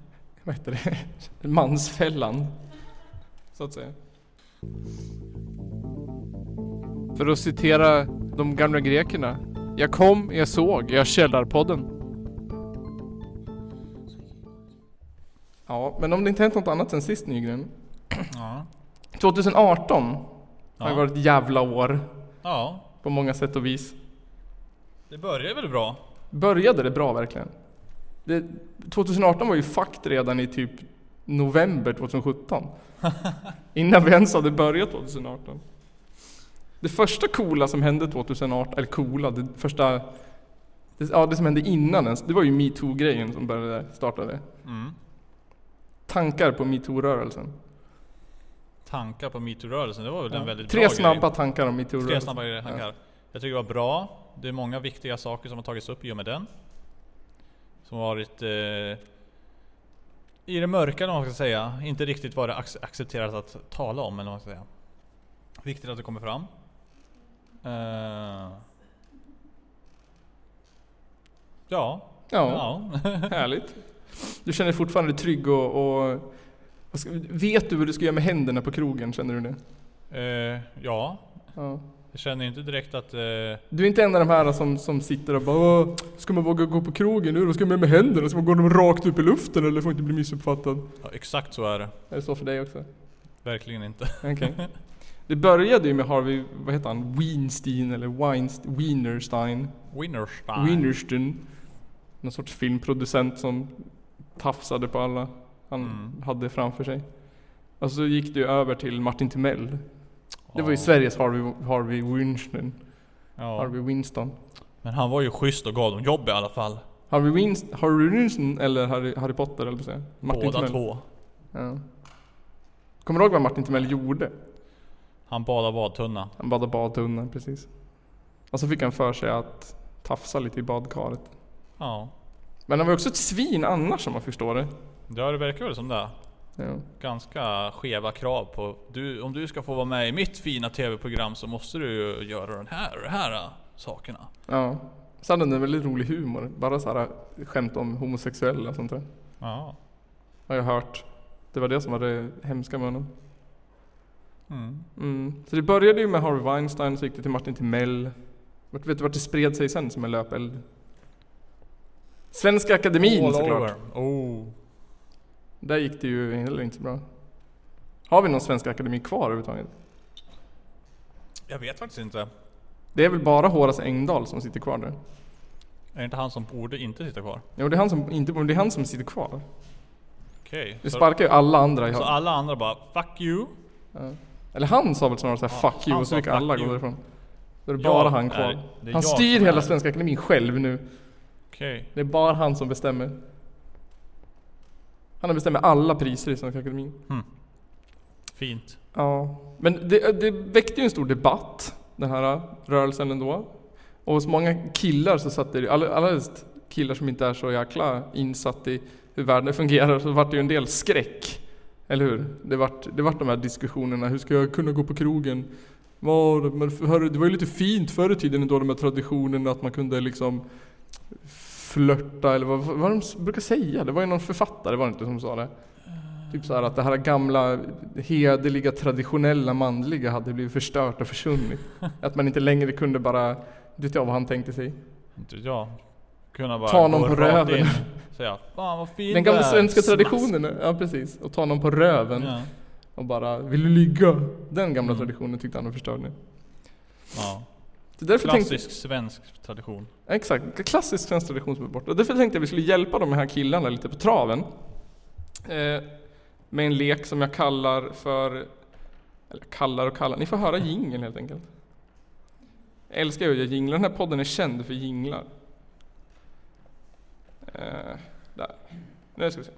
Speaker 1: <laughs> vad heter det? Mansfällan. Så att säga. För att citera de gamla grekerna. Jag kom, jag såg, jag källarpodden. Ja, men om det inte hänt något annat sen sist Nygren.
Speaker 2: Ja.
Speaker 1: 2018 har ju
Speaker 2: Ja.
Speaker 1: varit ett jävla år
Speaker 2: ja.
Speaker 1: på många sätt och vis.
Speaker 2: Det börjar väl bra?
Speaker 1: Började det bra verkligen? Det, 2018 var ju fakt redan i typ november
Speaker 2: <laughs>
Speaker 1: 2017. Innan vi ens hade börjat 2018. Det första coola som hände 2018, eller coola, det första... Det, ja, det som hände innan ens, det var ju metoo-grejen som började, startade.
Speaker 2: Mm.
Speaker 1: Tankar på metoo-rörelsen.
Speaker 2: Tankar på metoo-rörelsen, det var väl en väldigt
Speaker 1: Tre
Speaker 2: bra
Speaker 1: snabba
Speaker 2: grej.
Speaker 1: tankar om
Speaker 2: Tre
Speaker 1: metoo-rörelsen.
Speaker 2: snabba grejer, tankar. Jag tycker det var bra. Det är många viktiga saker som har tagits upp i och med den. Som har varit eh, i det mörka om man ska säga. Inte riktigt vad det ac- accepteras att tala om eller vad man ska säga. Viktigt att det kommer fram. Eh, ja.
Speaker 1: Ja, härligt. Du känner dig fortfarande trygg och... och vad ska, vet du vad du ska göra med händerna på krogen? Känner du det?
Speaker 2: Eh, ja. <laughs>
Speaker 1: Ja.
Speaker 2: Jag känner inte direkt att... Eh,
Speaker 1: Du är inte en av de här som, som sitter och bara "Åh, Ska man våga gå på krogen nu? Vad ska man göra med händerna? Ska man gå dem rakt upp i luften eller får man inte bli missuppfattad?
Speaker 2: ja, exakt så är det.
Speaker 1: Är det så för dig också?
Speaker 2: Verkligen inte.
Speaker 1: Okej.
Speaker 2: <laughs>
Speaker 1: Det började ju med Harvey, vad heter han? Weinstein eller Weinstein, Wienerstein?
Speaker 2: Winnerstein.
Speaker 1: Wienerstein. Någon sorts filmproducent som tafsade på alla han
Speaker 2: Mm.
Speaker 1: hade framför sig. Och så gick det ju över till Martin Timell. Det var ju
Speaker 2: Ja.
Speaker 1: Sveriges Harvey, Harvey Weinstein.
Speaker 2: Ja.
Speaker 1: Harvey Winston.
Speaker 2: Men han var ju schysst och gav dem jobb i alla fall.
Speaker 1: Harvey Winst, Harvey Winston eller Harry, Harry Potter eller på att säga. Martin
Speaker 2: Båda
Speaker 1: Timell.
Speaker 2: två.
Speaker 1: Ja. Kommer du ihåg vad Martin Timell gjorde?
Speaker 2: Han badade badtunna.
Speaker 1: Han badade badtunnan precis. Och så fick han för sig att tafsa lite i badkaret.
Speaker 2: Ja.
Speaker 1: Men han var ju också ett svin annars om man förstår det.
Speaker 2: Ja, det verkar väl som det.
Speaker 1: Ja.
Speaker 2: Ganska skeva krav på... Du, om du ska få vara med i mitt fina TV-program så måste du ju göra den här och de här äh, sakerna.
Speaker 1: ja. Så hade han en väldigt rolig humor. Bara så här äh, skämt om homosexuella och sånt där.
Speaker 2: Ja.
Speaker 1: Har jag hört. Det var det som var det hemska med honom.
Speaker 2: Mm.
Speaker 1: Mm. Så det började ju med Harvey Weinstein, så gick det till Martin Timell. Vart- Vet du vart det spred sig sen som en löpeld? Svenska Akademin
Speaker 2: All
Speaker 1: såklart.
Speaker 2: over. Oh.
Speaker 1: Där gick det ju heller inte så bra. Har vi någon Svenska Akademi kvar överhuvudtaget?
Speaker 2: Jag vet faktiskt inte.
Speaker 1: Det är väl bara Horace Engdahl som sitter kvar där?
Speaker 2: Är det inte han som borde inte sitta kvar?
Speaker 1: Jo, det är han som, inte, det är han som sitter kvar.
Speaker 2: Okej.
Speaker 1: Det
Speaker 2: Så,
Speaker 1: sparkar ju alla andra i
Speaker 2: så
Speaker 1: hörnet.
Speaker 2: alla andra bara 'Fuck you'
Speaker 1: Eller han sa väl snarare såhär
Speaker 2: Ja,
Speaker 1: 'fuck you'
Speaker 2: han
Speaker 1: och så
Speaker 2: sa
Speaker 1: fick alla
Speaker 2: 'fuck
Speaker 1: gå
Speaker 2: you.
Speaker 1: därifrån. Då är det
Speaker 2: Jag
Speaker 1: bara han
Speaker 2: är-
Speaker 1: kvar.
Speaker 2: det
Speaker 1: han
Speaker 2: är jag
Speaker 1: styr
Speaker 2: som
Speaker 1: hela
Speaker 2: är-
Speaker 1: Svenska Akademin själv nu.
Speaker 2: Okej.
Speaker 1: Det är bara han som bestämmer. Han bestämmer alla priser i Svenska Akademin.
Speaker 2: Fint.
Speaker 1: Ja. Men det, det väckte ju en stor debatt, den här rörelsen ändå. Och hos många killar så satt det ju- alla- allra helst killar som inte är så jäkla insatt i hur världen fungerar, så vart det ju en del skräck. Eller hur? Det vart, det vart de här diskussionerna, hur ska jag kunna gå på krogen? Var, men för- hörru, det var ju lite fint förr i tiden ändå, de här traditionerna att man kunde liksom flörta eller vad, vad de s- brukar säga. Det var ju någon författare var det inte som sa det? Typ så här att det här gamla hederliga traditionella manliga hade blivit förstört och
Speaker 2: <laughs>
Speaker 1: försvunnit. Att man inte längre kunde bara, du vet jag vad han tänkte sig.
Speaker 2: Inte vet jag. Kunna bara
Speaker 1: Ta någon
Speaker 2: gå
Speaker 1: på
Speaker 2: rakt
Speaker 1: röven.
Speaker 2: in. Säga 'Fan vad fin
Speaker 1: Den gamla
Speaker 2: du är."
Speaker 1: svenska
Speaker 2: Smask.
Speaker 1: traditionen, ja precis. Och ta någon på röven
Speaker 2: Ja.
Speaker 1: och bara, vill du ligga? Den gamla
Speaker 2: Mm.
Speaker 1: traditionen tyckte han var förstörd nu.
Speaker 2: ja.
Speaker 1: Så därför tänkte,
Speaker 2: Klassisk svensk tradition.
Speaker 1: Exakt, klassisk svensk tradition som är borta. Därför tänkte jag att vi skulle hjälpa de här killarna lite på traven. Eh, med en lek som jag kallar för... Eller kallar och kallar, ni får höra jingeln helt enkelt. Jag älskar ju att göra jinglar, den här podden är känd för jinglar. Eh, där. Nu ska vi se.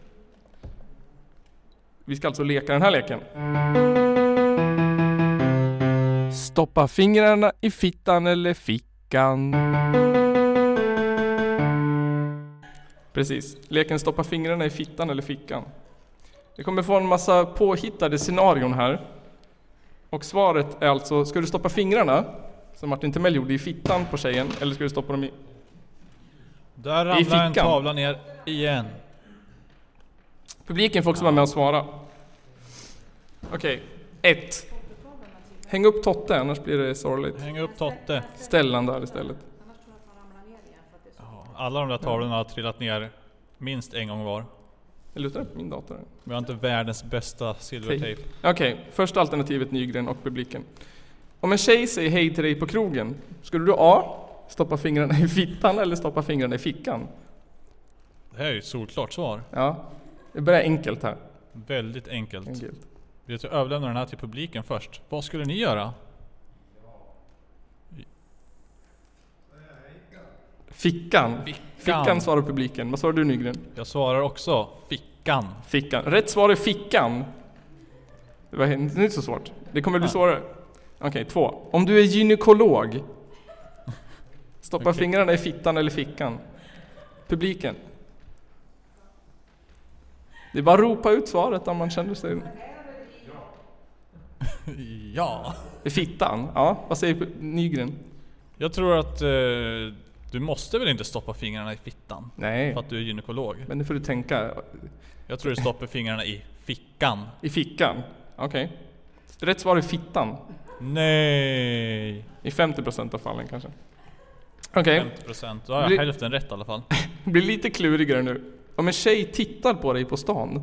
Speaker 1: Vi ska alltså leka den här leken. Stoppa fingrarna i fittan eller fickan. Precis. Leken stoppa fingrarna i fittan eller fickan. Vi kommer få en massa påhittade scenarion här. Och svaret är alltså, ska du stoppa fingrarna, som Martin Timell gjorde, i fittan på tjejen, eller ska du stoppa dem i...
Speaker 2: Där
Speaker 1: I
Speaker 2: ramlar en
Speaker 1: fickan.
Speaker 2: tavla ner igen.
Speaker 1: Publiken får också vara med och svara. Okej, ett. Häng upp Totte, annars blir det sorgligt.
Speaker 2: Häng upp Totte.
Speaker 1: Ställ han där istället.
Speaker 2: Ja, Alla de där tavlorna har trillat ner minst en gång var.
Speaker 1: Jag lutar upp min dator.
Speaker 2: Vi har inte världens bästa silvertejp.
Speaker 1: Okej, första alternativet Nygren och publiken. Om en tjej säger hej till dig på krogen, skulle du A. Stoppa fingrarna i fittan eller stoppa fingrarna i fickan?
Speaker 2: Det här är ju ett solklart svar.
Speaker 1: Ja, det börjar enkelt här.
Speaker 2: Väldigt enkelt.
Speaker 1: Enkelt.
Speaker 2: Vi ska överlämna den här till publiken först. Vad skulle ni göra?
Speaker 1: Fickan. Fickan svarar publiken. Vad svarar du Nygren?
Speaker 2: Jag svarar också fickan. <laughs>
Speaker 1: Fickan. Rätt svar är fickan. Det var inte så svårt. Det kommer bli
Speaker 2: Ja.
Speaker 1: svårare. Okej, två. Om du är gynekolog, Stoppa
Speaker 2: Okej.
Speaker 1: fingrarna i fittan eller fickan. Publiken. Det är bara att ropa ut svaret om man känner sig...
Speaker 2: Ja.
Speaker 1: I fittan? Ja, vad säger Nygren?
Speaker 2: Jag tror att eh, du måste väl inte stoppa fingrarna i fittan?
Speaker 1: Nej,
Speaker 2: För att du är gynekolog.
Speaker 1: men nu får du tänka.
Speaker 2: Jag tror du stoppar fingrarna i fickan.
Speaker 1: I fickan? Okej. Rätt svar är fittan.
Speaker 2: Nej!
Speaker 1: I 50% av fallen kanske. Okej.
Speaker 2: 50%. Då har
Speaker 1: Blir-
Speaker 2: jag hälften rätt i alla fall.
Speaker 1: Det blir lite klurigare nu. Om en tjej tittar på dig på stan,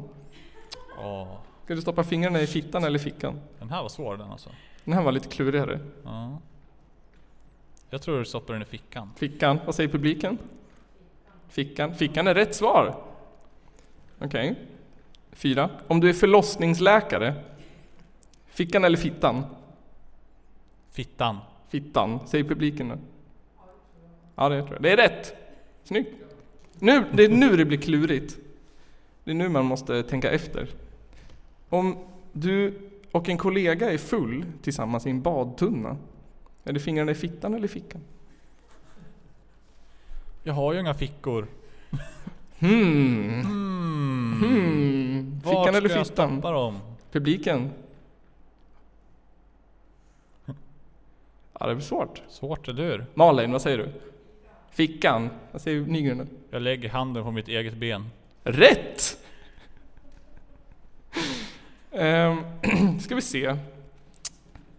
Speaker 2: Åh,
Speaker 1: ska du stoppa fingrarna i fittan eller fickan?
Speaker 2: den här var svår den alltså.
Speaker 1: Den här var lite klurigare.
Speaker 2: Ja. Jag tror du stoppar den i fickan.
Speaker 1: Fickan, vad säger publiken? Fickan, fickan är rätt svar! Okej. Fyra. Om du är förlossningsläkare, fickan eller fittan?
Speaker 2: Fittan.
Speaker 1: Fittan, säger publiken nu. Ja, det tror jag. Det är rätt! Snyggt! Nu, det är nu det blir klurigt. Det är nu man måste tänka efter. Om du och en kollega är full tillsammans i en badtunna, är det fingrarna i fittan eller i fickan?
Speaker 2: Jag har ju inga fickor.
Speaker 1: Hmm.
Speaker 2: Mm.
Speaker 1: Hmm.
Speaker 2: Vart
Speaker 1: Fickan eller
Speaker 2: ska jag
Speaker 1: fittan?
Speaker 2: stoppa dem?
Speaker 1: Publiken? Ja, det blir svårt.
Speaker 2: Svårt eller hur?
Speaker 1: Malin, vad säger du? Fickan? Vad säger Nygren? då?
Speaker 2: Jag lägger handen på mitt eget ben.
Speaker 1: Rätt! Ehm, <clears throat> ska vi se.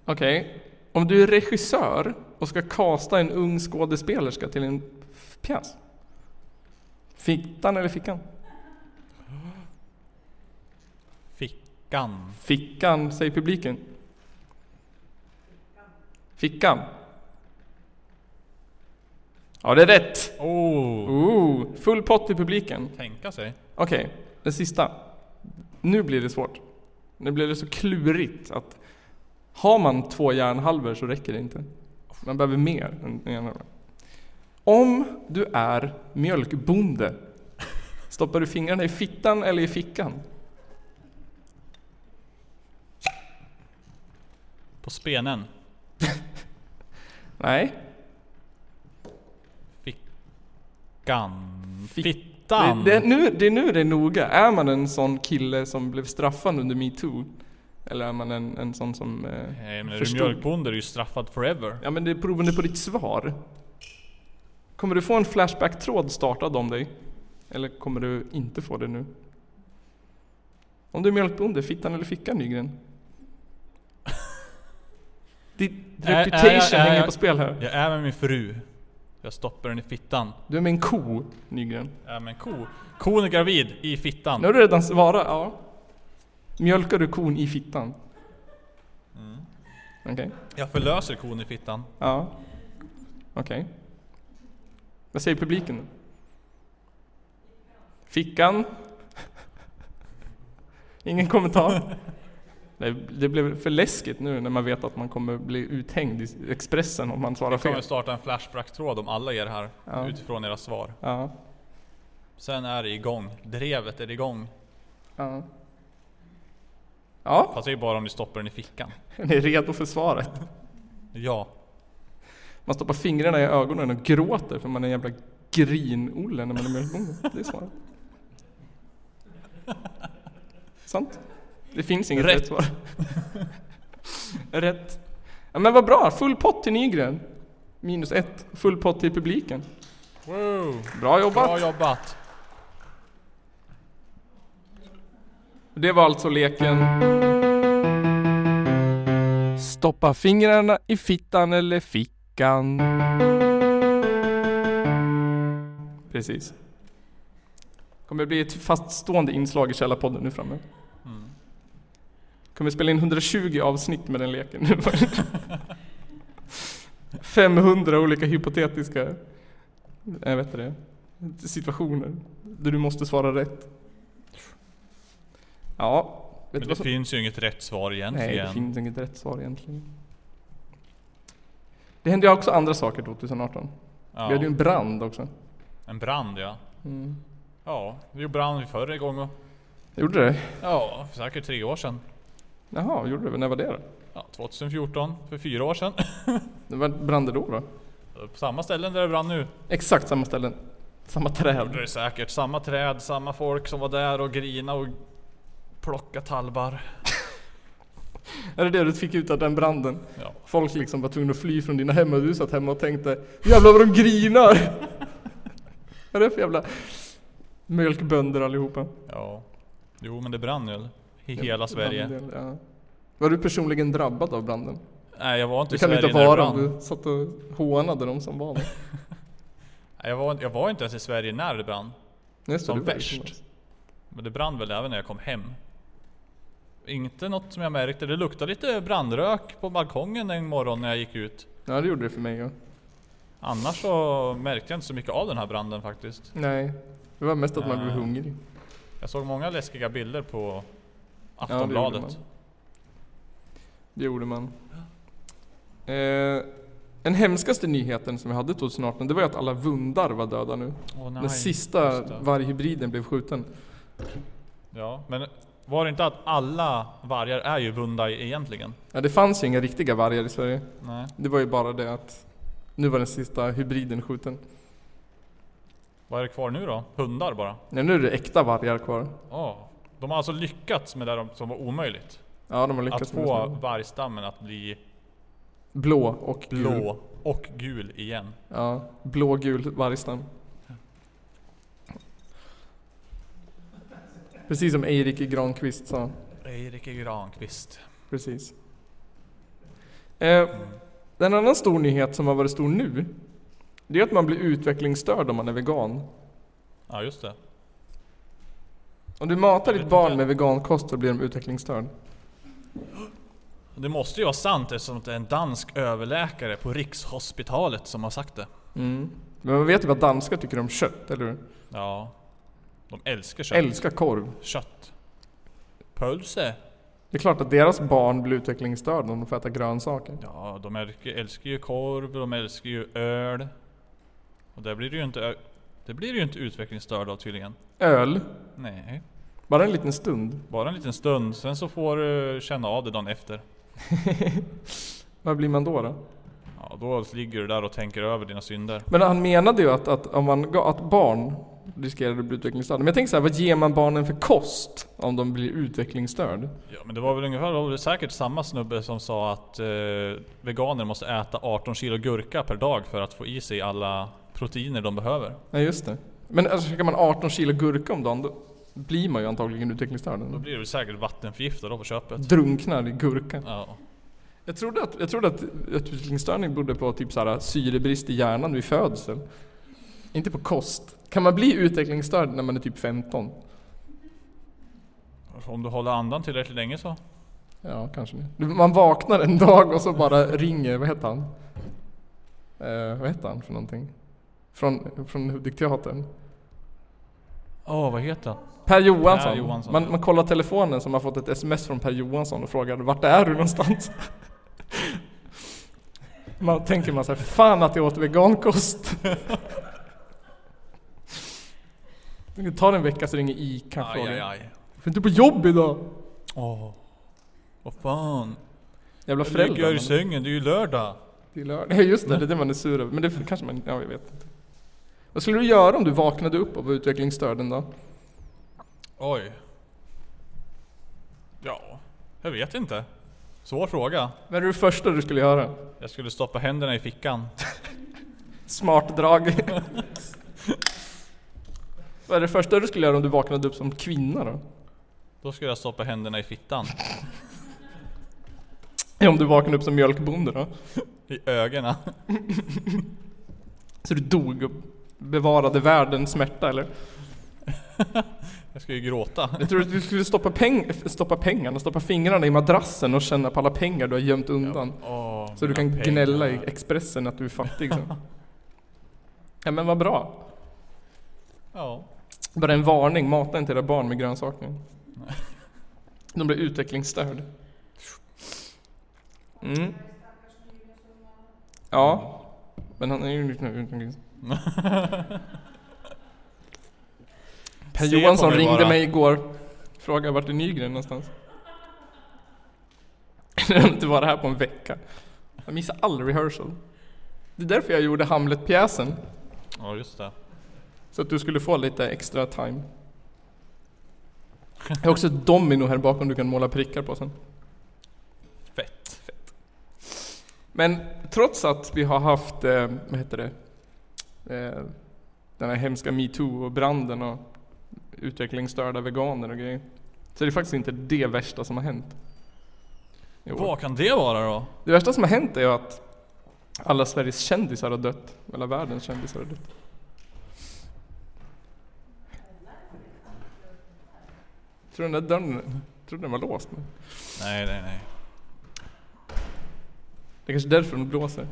Speaker 1: Okej. Om du är regissör och ska kasta en ung skådespelerska till en f- pjäs. Fittan eller fickan?
Speaker 2: Fickan.
Speaker 1: Fickan, säger publiken. Fickan. Ja, det är rätt!
Speaker 2: Oh.
Speaker 1: Ooh, full pott i publiken.
Speaker 2: Tänka sig.
Speaker 1: Okej, den sista. Nu blir det svårt. Nu blir det så klurigt att har man två hjärnhalvor så räcker det inte. Man behöver mer än en hjärnhalva. Om du är mjölkbonde, stoppar du fingrarna i fittan eller i fickan?
Speaker 2: På spenen.
Speaker 1: Nej,
Speaker 2: Fickan.
Speaker 1: Fick-
Speaker 2: Fittan.
Speaker 1: Det, det, är nu, det är nu det är noga. Är man en sån kille som blev straffad under metoo? Eller är man en, en sån som... Eh,
Speaker 2: Nej men är du
Speaker 1: Förstod.
Speaker 2: mjölkbonde är du ju straffad forever.
Speaker 1: ja men det är beroende på ditt svar. Kommer du få en Flashback-tråd startad om dig? Eller kommer du inte få det nu? Om du är mjölkbonde, fittan eller fickan Nygren?
Speaker 2: <laughs>
Speaker 1: Din
Speaker 2: Ä- ä-
Speaker 1: reputation
Speaker 2: ä-
Speaker 1: hänger
Speaker 2: ä-
Speaker 1: på spel här.
Speaker 2: Jag är med min fru. Jag stoppar den i fittan.
Speaker 1: Du är med en ko, Nygren.
Speaker 2: Jag är med en ko. Kon är gravid i fittan.
Speaker 1: Nu har du redan svarat, ja. Mjölkar du kon i fittan?
Speaker 2: Mm.
Speaker 1: Okej.
Speaker 2: Jag förlöser kon i fittan.
Speaker 1: Ja. Okej. Vad säger publiken då? Fickan? <laughs> Ingen kommentar? Det, det blev för läskigt nu när man vet att man kommer bli uthängd i Expressen om man svarar
Speaker 2: Jag kommer
Speaker 1: fel.
Speaker 2: starta en flashback-tråd om alla er här.
Speaker 1: Ja.
Speaker 2: Utifrån era svar.
Speaker 1: Ja.
Speaker 2: Sen är det igång. Drevet är igång.
Speaker 1: Ja. Ja,
Speaker 2: Fast det är ju bara om du stoppar den i fickan.
Speaker 1: är ni redo för svaret?
Speaker 2: Ja.
Speaker 1: Man stoppar fingrarna i ögonen och gråter för man är en jävla grinolle när man är mjölkbonde. Det är svaret. Sant. Det finns inget rätt,
Speaker 2: Rätt.
Speaker 1: svar. rätt. Ja, men vad bra, full pott till Nygren. Minus ett, full pott till publiken.
Speaker 2: Wow.
Speaker 1: Bra jobbat!
Speaker 2: Bra jobbat!
Speaker 1: Det var alltså leken. Stoppa fingrarna i fittan eller fickan. Precis. Kommer bli ett faststående inslag i Källarpodden nu framöver.
Speaker 2: Mm.
Speaker 1: Kommer spela in 120 avsnitt med den leken nu. <laughs> 500 olika hypotetiska jag vet inte det, situationer där du måste svara rätt. Ja, vet du
Speaker 2: Men det
Speaker 1: vad som-
Speaker 2: finns ju inget rätt svar egentligen.
Speaker 1: Nej, det finns inget rätt svar egentligen. Det hände ju också andra saker 2018.
Speaker 2: ja.
Speaker 1: Vi hade ju en brand också.
Speaker 2: En brand ja.
Speaker 1: Mm.
Speaker 2: Ja, vi gjorde brand vid förra gången och...
Speaker 1: Gjorde det?
Speaker 2: Ja, för säkert tre år sedan.
Speaker 1: Jaha, gjorde det? När var det då?
Speaker 2: Ja, 2014, för fyra år sedan.
Speaker 1: Det var brand det då? då?
Speaker 2: På samma ställen där det brann nu.
Speaker 1: Exakt samma ställen. Samma
Speaker 2: Det
Speaker 1: träd.
Speaker 2: är säkert samma träd, samma folk som var där och grina och plocka talbar.
Speaker 1: Är det det du fick ut av den branden?
Speaker 2: Ja.
Speaker 1: Folk liksom var tvungna att fly från dina hem och du satt hemma och tänkte Jävlar vad de grinar! vad är det för jävla mjölkbönder allihopa?
Speaker 2: ja. Jo men det brann ju. eller? I hela Sverige.
Speaker 1: Branden, ja. Var du personligen drabbad av branden?
Speaker 2: Nej jag var inte
Speaker 1: Det
Speaker 2: i
Speaker 1: kan du
Speaker 2: Sverige
Speaker 1: inte
Speaker 2: när det
Speaker 1: vara
Speaker 2: brann.
Speaker 1: om du satt och hånade de som var där.
Speaker 2: Nej, jag, var, jag var inte ens i Sverige när det brann.
Speaker 1: Just det,
Speaker 2: Som
Speaker 1: du var
Speaker 2: värst.
Speaker 1: utomlands.
Speaker 2: Men det brann väl även när jag kom hem. Inte något som jag märkte. Det luktade lite brandrök på balkongen en morgon när jag gick ut.
Speaker 1: Ja det gjorde det för mig ja.
Speaker 2: Annars så märkte jag inte så mycket av den här branden faktiskt.
Speaker 1: Nej. Det var mest att man blev
Speaker 2: Ja.
Speaker 1: hungrig.
Speaker 2: Jag såg många läskiga bilder på
Speaker 1: Ja, det gjorde
Speaker 2: Aftonbladet.
Speaker 1: man. Det gjorde man. Eh, en hemskaste nyheten som vi hade 2018, det var ju att alla vundar var döda nu.
Speaker 2: Åh,
Speaker 1: Den
Speaker 2: nej,
Speaker 1: sista
Speaker 2: just det.
Speaker 1: varghybriden blev skjuten.
Speaker 2: Ja, men var det inte att alla vargar är ju Vundai egentligen?
Speaker 1: Ja, det fanns ju inga riktiga vargar i Sverige.
Speaker 2: Nej.
Speaker 1: Det var ju bara det att nu var den sista hybriden skjuten.
Speaker 2: Vad är det kvar nu då? Hundar bara?
Speaker 1: Ja, nu är det äkta vargar kvar.
Speaker 2: Åh. De har alltså lyckats med det de- som var omöjligt.
Speaker 1: Ja, de har lyckats
Speaker 2: Att
Speaker 1: med
Speaker 2: få
Speaker 1: det.
Speaker 2: vargstammen att bli
Speaker 1: Blå och gul.
Speaker 2: blå och gul igen.
Speaker 1: Ja, blågul vargstam. Precis som Erik Granqvist sa.
Speaker 2: Erik Granqvist.
Speaker 1: Precis. Eh, en annan stor nyhet som har varit stor nu, det är att man blir utvecklingsstörd om man är vegan.
Speaker 2: Ja just det.
Speaker 1: Om du matar
Speaker 2: Jag
Speaker 1: ditt
Speaker 2: vet
Speaker 1: barn
Speaker 2: inte.
Speaker 1: med vegankost så blir de utvecklingsstörd.
Speaker 2: Det måste ju vara sant eftersom det är en dansk överläkare på Rikshospitalet som har sagt det.
Speaker 1: Mm. Men man vet ju vad danskar tycker om kött, eller hur?
Speaker 2: Ja. De älskar kött.
Speaker 1: Älskar korv.
Speaker 2: kött. Pölse.
Speaker 1: Det är klart att deras barn blir utvecklingsstörda om de får äta grönsaker.
Speaker 2: Ja, de älskar, älskar ju korv, de älskar ju öl. Och där blir det ju inte, ö- det blir det ju inte utvecklingsstörd av tydligen.
Speaker 1: Öl,
Speaker 2: Nej.
Speaker 1: bara en liten stund.
Speaker 2: Bara en liten stund, sen så får du känna av det dagen efter.
Speaker 1: Vad blir man då? då?
Speaker 2: Ja, då ligger du där och tänker över dina synder.
Speaker 1: Men han menade ju att, att, om man, ga- att barn riskerade att bli utvecklingsstörda. Men jag tänker så här, vad ger man barnen för kost om de blir utvecklingsstörd?
Speaker 2: Ja, men det var väl ungefär, det var väl säkert samma snubbe som sa att eh, veganer måste äta 18 kilo gurka per dag för att få i sig alla proteiner de behöver.
Speaker 1: Nej, just det. Men alltså, käkar man 18 kilo gurka om dagen, då blir man ju antagligen utvecklingsstörd.
Speaker 2: Då blir du säkert vattenförgiftad då på köpet.
Speaker 1: Drunknar i gurka.
Speaker 2: Ja.
Speaker 1: Jag trodde att, jag trodde att utvecklingsstörning berodde på typ så här, syrebrist i hjärnan vid födsel. Inte på kost. Kan man bli utvecklingsstörd när man är typ 15?
Speaker 2: Om du håller andan tillräckligt länge så.
Speaker 1: Ja, kanske det. Man vaknar en dag och så bara ringer, vad heter han? Eh, vad heter han för någonting? Från, från Hudik-teatern?
Speaker 2: Åh, vad heter han?
Speaker 1: Per Johansson.
Speaker 2: Per Johansson.
Speaker 1: Man, man kollar telefonen som har fått ett sms från Per Johansson och frågar vart är du någonstans? <laughs> man tänker man så här, fan att jag åt vegankost. <laughs> Det tar en vecka så ringer ICA och
Speaker 2: Aj,
Speaker 1: frågar.
Speaker 2: aj,
Speaker 1: Jag
Speaker 2: aj.
Speaker 1: är inte på jobb idag.
Speaker 2: Åh. Vad fan.
Speaker 1: Jävla
Speaker 2: Jag ligger
Speaker 1: föräldrar.
Speaker 2: här i
Speaker 1: man-
Speaker 2: sängen, det är ju lördag.
Speaker 1: Det är lördag. <laughs> Ja, just det, det är det man är sur över. Men det kanske man, ja jag vet inte. Vad skulle du göra om du vaknade upp och var utvecklingsstörd en dag?
Speaker 2: Oj. Ja, jag vet inte. Svår fråga.
Speaker 1: Vad är det första du skulle göra?
Speaker 2: Jag skulle stoppa händerna i fickan.
Speaker 1: Smart drag. <laughs> Vad är det första du skulle göra om du vaknade upp som kvinna då?
Speaker 2: Då skulle jag stoppa händerna i fittan.
Speaker 1: Ja, om du vaknade upp som mjölkbonde då?
Speaker 2: I ögonen. <laughs>
Speaker 1: Så du dog och bevarade världens smärta eller?
Speaker 2: Jag skulle ju gråta.
Speaker 1: Jag tror att du skulle stoppa, peng stoppa pengarna, stoppa fingrarna i madrassen och känna på alla pengar du har gömt undan.
Speaker 2: Åh,
Speaker 1: Så du kan
Speaker 2: mina pengar.
Speaker 1: gnälla i Expressen att du är fattig sen. Ja men vad bra.
Speaker 2: Ja.
Speaker 1: Bara en varning, mata inte era barn med grönsaker. De blir utvecklingsstörd. Mm. Ja. Men han är ju lite utomlands. <laughs> Per
Speaker 2: Se på
Speaker 1: Johansson
Speaker 2: mig
Speaker 1: ringde
Speaker 2: bara.
Speaker 1: mig igår. Frågade vart är Nygren någonstans? <laughs> Jag har inte varit här på en vecka. Jag missar all rehearsal. Det är därför jag gjorde Hamlet-pjäsen.
Speaker 2: Ja, just det.
Speaker 1: Så att du skulle få lite extra time. Jag har också ett domino här bakom du kan måla prickar på sen.
Speaker 2: Fett.
Speaker 1: Men trots att vi har haft, eh, vad heter det, eh, den här hemska metoo och branden och utvecklingsstörda veganer och grejer. Så är det faktiskt inte det värsta som har hänt. i år.
Speaker 2: Vad kan det vara då?
Speaker 1: Det värsta som har hänt är ju att alla Sveriges kändisar har dött. Hela världens kändisar har dött. Tror du den där dörren, tror du den var låst? Men
Speaker 2: Nej, nej, nej.
Speaker 1: det är kanske är därför den blåser.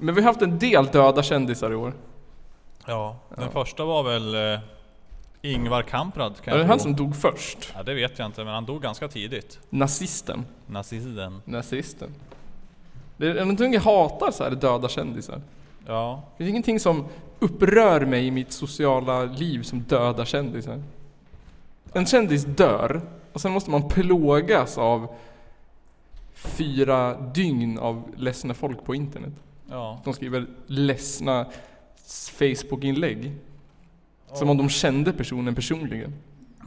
Speaker 1: Men vi har haft en del döda kändisar i år.
Speaker 2: Ja, den
Speaker 1: Ja.
Speaker 2: första var väl eh, Ingvar Kamprad kan
Speaker 1: Var det
Speaker 2: jag
Speaker 1: han
Speaker 2: tro.
Speaker 1: som dog först?
Speaker 2: Ja, det vet jag inte, men han dog ganska tidigt.
Speaker 1: Nazisten.
Speaker 2: Nazisten.
Speaker 1: Nazisten. Det är någonting jag hatar så här döda kändisar.
Speaker 2: Ja,
Speaker 1: Det finns ingenting som upprör mig i mitt sociala liv som döda kändisar. En kändis dör och sen måste man plågas av fyra dygn av ledsna folk på internet.
Speaker 2: ja.
Speaker 1: De skriver ledsna s- Facebook-inlägg. Som
Speaker 2: Ja.
Speaker 1: om de kände personen personligen.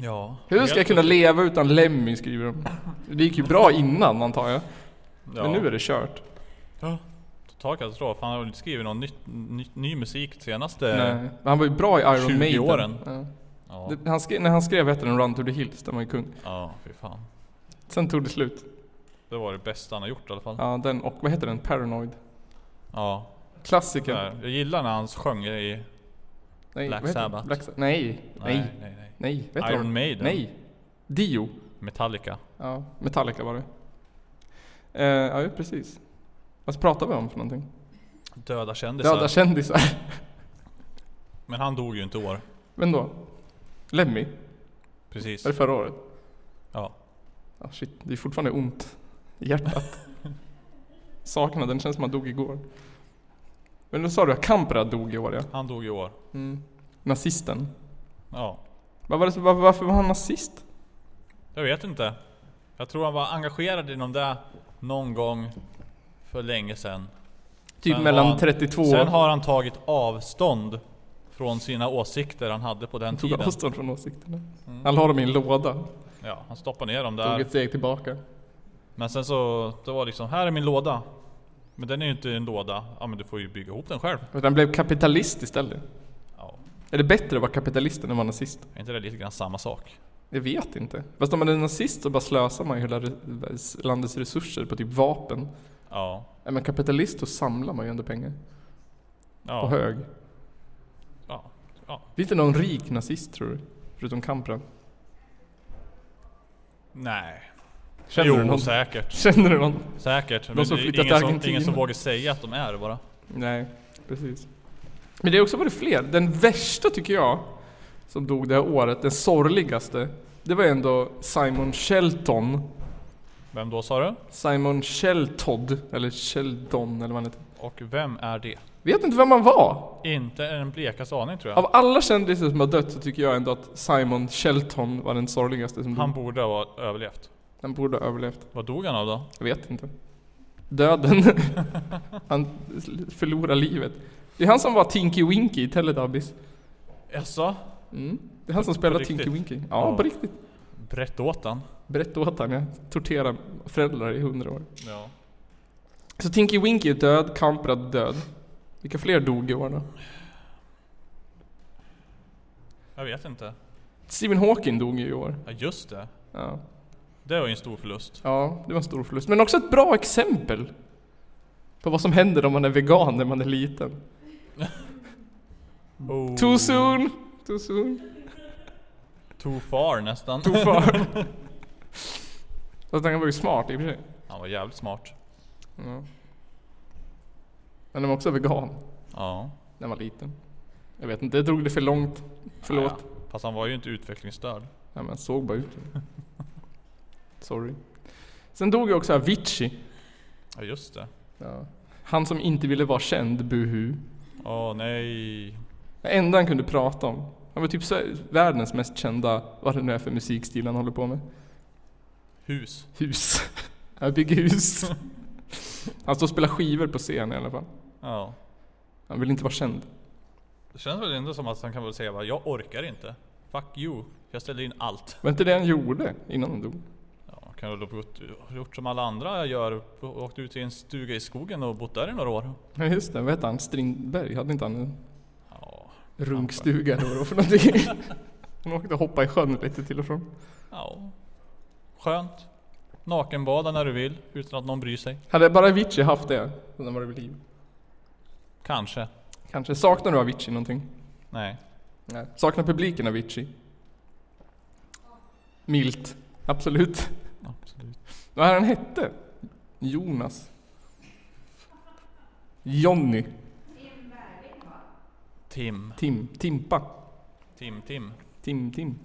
Speaker 2: Ja.
Speaker 1: Hur ska jag kunna leva utan Lemmy, skriver de. Det gick ju bra innan antar jag,
Speaker 2: ja.
Speaker 1: men nu är det kört.
Speaker 2: Ja. Total katastrof. Han har väl skrivit någon nytt- ny, ny musik senaste...
Speaker 1: Nej. Men han var ju bra i Iron
Speaker 2: 20
Speaker 1: Maiden.
Speaker 2: åren.
Speaker 1: Ja.
Speaker 2: Ja.
Speaker 1: Det, han skrev, när han skrev hette den Run to the Hills, den var ju kung.
Speaker 2: ja, fy fan.
Speaker 1: Sen tog det slut.
Speaker 2: Det var det bästa han har gjort i alla fall. Ja.
Speaker 1: Ja, den och vad heter den? Paranoid. Klassiker.
Speaker 2: där. Jag gillar när han sjöng i...
Speaker 1: Nej,
Speaker 2: Black
Speaker 1: vad heter den?
Speaker 2: Sabbath.
Speaker 1: Black Sa- nej, nej,
Speaker 2: Nej, nej, nej.
Speaker 1: nej. Vad heter
Speaker 2: Iron
Speaker 1: de?
Speaker 2: Maiden.
Speaker 1: Nej. Dio.
Speaker 2: Metallica.
Speaker 1: Ja, Metallica var det. Eh, ja, ju precis. Vad pratar vi om för någonting?
Speaker 2: Döda kändisar.
Speaker 1: Döda kändisar. <laughs>
Speaker 2: Men han dog ju inte i år.
Speaker 1: Vem då? Lemmy?
Speaker 2: Precis.
Speaker 1: Var det förra året?
Speaker 2: Ja.
Speaker 1: Ja, shit. Det är fortfarande ont i
Speaker 2: <laughs>
Speaker 1: hjärtat. Saknaden känns som han dog igår. Men då sa du att Kamprad dog i år ja.
Speaker 2: Han dog i år.
Speaker 1: Mm. Nazisten.
Speaker 2: Ja.
Speaker 1: Vad var det, som- var, varför var han nazist?
Speaker 2: Jag vet inte. Jag tror han var engagerad inom det någon gång för länge sedan.
Speaker 1: Typ
Speaker 2: Sen
Speaker 1: mellan
Speaker 2: har han-
Speaker 1: 32
Speaker 2: Sen har han tagit avstånd från sina åsikter han hade på den
Speaker 1: tog
Speaker 2: tiden.
Speaker 1: avstånd från åsikterna. Han la dem i en låda.
Speaker 2: Ja, han stoppade ner dem
Speaker 1: Tog
Speaker 2: där.
Speaker 1: ett steg tillbaka.
Speaker 2: Men sen så, det var liksom, här är min låda. Men den är ju inte en låda. Ja men du får ju bygga ihop den själv.
Speaker 1: För han blev kapitalist istället.
Speaker 2: Ja,
Speaker 1: Är det bättre att vara kapitalist än att vara nazist?
Speaker 2: är inte det lite grann samma sak?
Speaker 1: Jag vet inte. Fast om man är nazist så bara slösar man ju hela re- landets resurser på typ vapen.
Speaker 2: Ja.
Speaker 1: Är man kapitalist så samlar man ju ändå pengar. På
Speaker 2: Ja.
Speaker 1: hög.
Speaker 2: ja.
Speaker 1: Det är inte någon rik nazist tror du? Förutom Kamprad.
Speaker 2: Nej.
Speaker 1: Känner
Speaker 2: jo,
Speaker 1: du någon? <laughs>
Speaker 2: säkert.
Speaker 1: Känner du någon?
Speaker 2: Säkert. Men
Speaker 1: De som
Speaker 2: det är
Speaker 1: flyttat
Speaker 2: ingen,
Speaker 1: till
Speaker 2: som,
Speaker 1: Argentina.
Speaker 2: ingen som vågar säga att de är det bara.
Speaker 1: Nej, precis. Men det har också varit fler. Den värsta tycker jag, som dog det här året, den sorgligaste, det var ändå Simon Shelton.
Speaker 2: Vem då sa du?
Speaker 1: Simon Sheltod, eller Sheldon eller vad han heter.
Speaker 2: Och vem är det?
Speaker 1: Vet inte vem han var!
Speaker 2: Inte en blekaste aning tror jag.
Speaker 1: Av alla kändisar som har dött så tycker jag ändå att Simon Shelton var den sorgligaste som
Speaker 2: Han
Speaker 1: dog.
Speaker 2: borde ha överlevt.
Speaker 1: Han borde ha överlevt.
Speaker 2: Vad dog han av då? <laughs>
Speaker 1: Jag vet inte. Döden. <laughs> han förlorar livet. Det är han som var Tinky Winky i Teletubbies.
Speaker 2: Jaså?
Speaker 1: Mm. Det är han som
Speaker 2: på
Speaker 1: spelar
Speaker 2: riktigt?
Speaker 1: Tinky Winky. Ja,
Speaker 2: Ja.
Speaker 1: på riktigt.
Speaker 2: Brett åt han?
Speaker 1: Berätta åt han, jag torterade föräldrar i hundra år.
Speaker 2: Ja.
Speaker 1: Så Tinky Winky är död, Kamprad är död. Vilka fler dog i år då?
Speaker 2: Jag vet inte.
Speaker 1: Stephen Hawking dog ju i år.
Speaker 2: Ja just det.
Speaker 1: Ja.
Speaker 2: Det var ju en stor förlust.
Speaker 1: ja, det var en stor förlust. Men också ett bra exempel på vad som händer om man är vegan när man är liten.
Speaker 2: Oh.
Speaker 1: Too soon! Too soon.
Speaker 2: Too far nästan.
Speaker 1: Too far. Fast han var ju smart i och för sig.
Speaker 2: <laughs> Han var jävligt smart.
Speaker 1: Ja. Men han var också vegan
Speaker 2: Ja.
Speaker 1: när han var liten. Jag vet inte, det drog det för långt. Förlåt.
Speaker 2: Ja, ja. Fast han var ju inte utvecklingsstörd.
Speaker 1: Ja, men såg bara
Speaker 2: <laughs>
Speaker 1: ut så. Sorry. Sen dog ju också Avicii.
Speaker 2: Ja just det.
Speaker 1: Han som inte ville vara känd, buhu.
Speaker 2: Åh nej.
Speaker 1: Det enda han kunde prata om. Han var typ Sve- världens mest kända, vad det nu är för musikstil han håller på med.
Speaker 2: Hus.
Speaker 1: Hus. <laughs>
Speaker 2: <laughs>
Speaker 1: Han bygger hus. Han står och spelar skivor på scen i alla fall.
Speaker 2: Ja.
Speaker 1: Han vill inte vara känd.
Speaker 2: Det känns väl ändå som att han kan väl säga bara, jag orkar inte. Fuck you. Jag ställer in allt.
Speaker 1: Var inte det han gjorde innan han dog?
Speaker 2: Ja, kan väl ha gått- gjort som alla andra gör. Åkt ut till en stuga i skogen och bott där i några år.
Speaker 1: Ja just det, vad hette han? Strindberg? Hade inte han en
Speaker 2: Ja,
Speaker 1: runkstuga eller vad det var för någonting? Han åkte och hoppade i sjön lite till och från.
Speaker 2: ja. Skönt. Nakenbada när du vill, utan att någon bryr sig.
Speaker 1: Hade bara Avicii haft det när han var vid liv?
Speaker 2: Kanske.
Speaker 1: Kanske. Saknar du Avicii någonting?
Speaker 2: Nej.
Speaker 1: Nej. Saknar publiken Avicii? Milt. Absolut.
Speaker 2: Absolut.
Speaker 1: Vad är han hette? Jonas. Jonny.
Speaker 2: Tim.
Speaker 1: Tim. Timpa.
Speaker 2: Tim, Tim.
Speaker 1: Tim, Tim.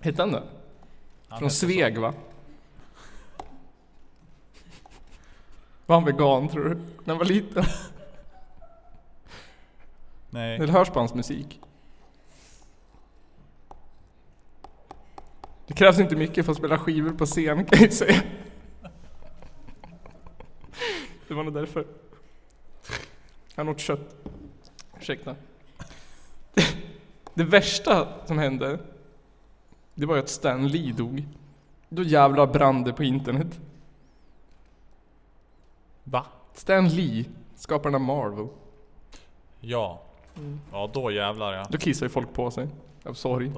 Speaker 1: Hette han det?
Speaker 2: Han
Speaker 1: Från
Speaker 2: heter så.
Speaker 1: Sveg va? Var han vegan tror du? När han var liten?
Speaker 2: Nej.
Speaker 1: Det hörs på hans musik. Det krävs inte mycket för att spela skivor på scen kan jag ju säga. Det var nog därför. Han åt kött. Ursäkta. Det värsta som hände, det var ju att Stan Lee dog. Då jävlar brann det på internet.
Speaker 2: Va?
Speaker 1: Stan Lee, skaparen av Marvel.
Speaker 2: Ja.
Speaker 1: Mm.
Speaker 2: Ja, då jävlar ja.
Speaker 1: Då kissar ju folk på sig. Av sorg.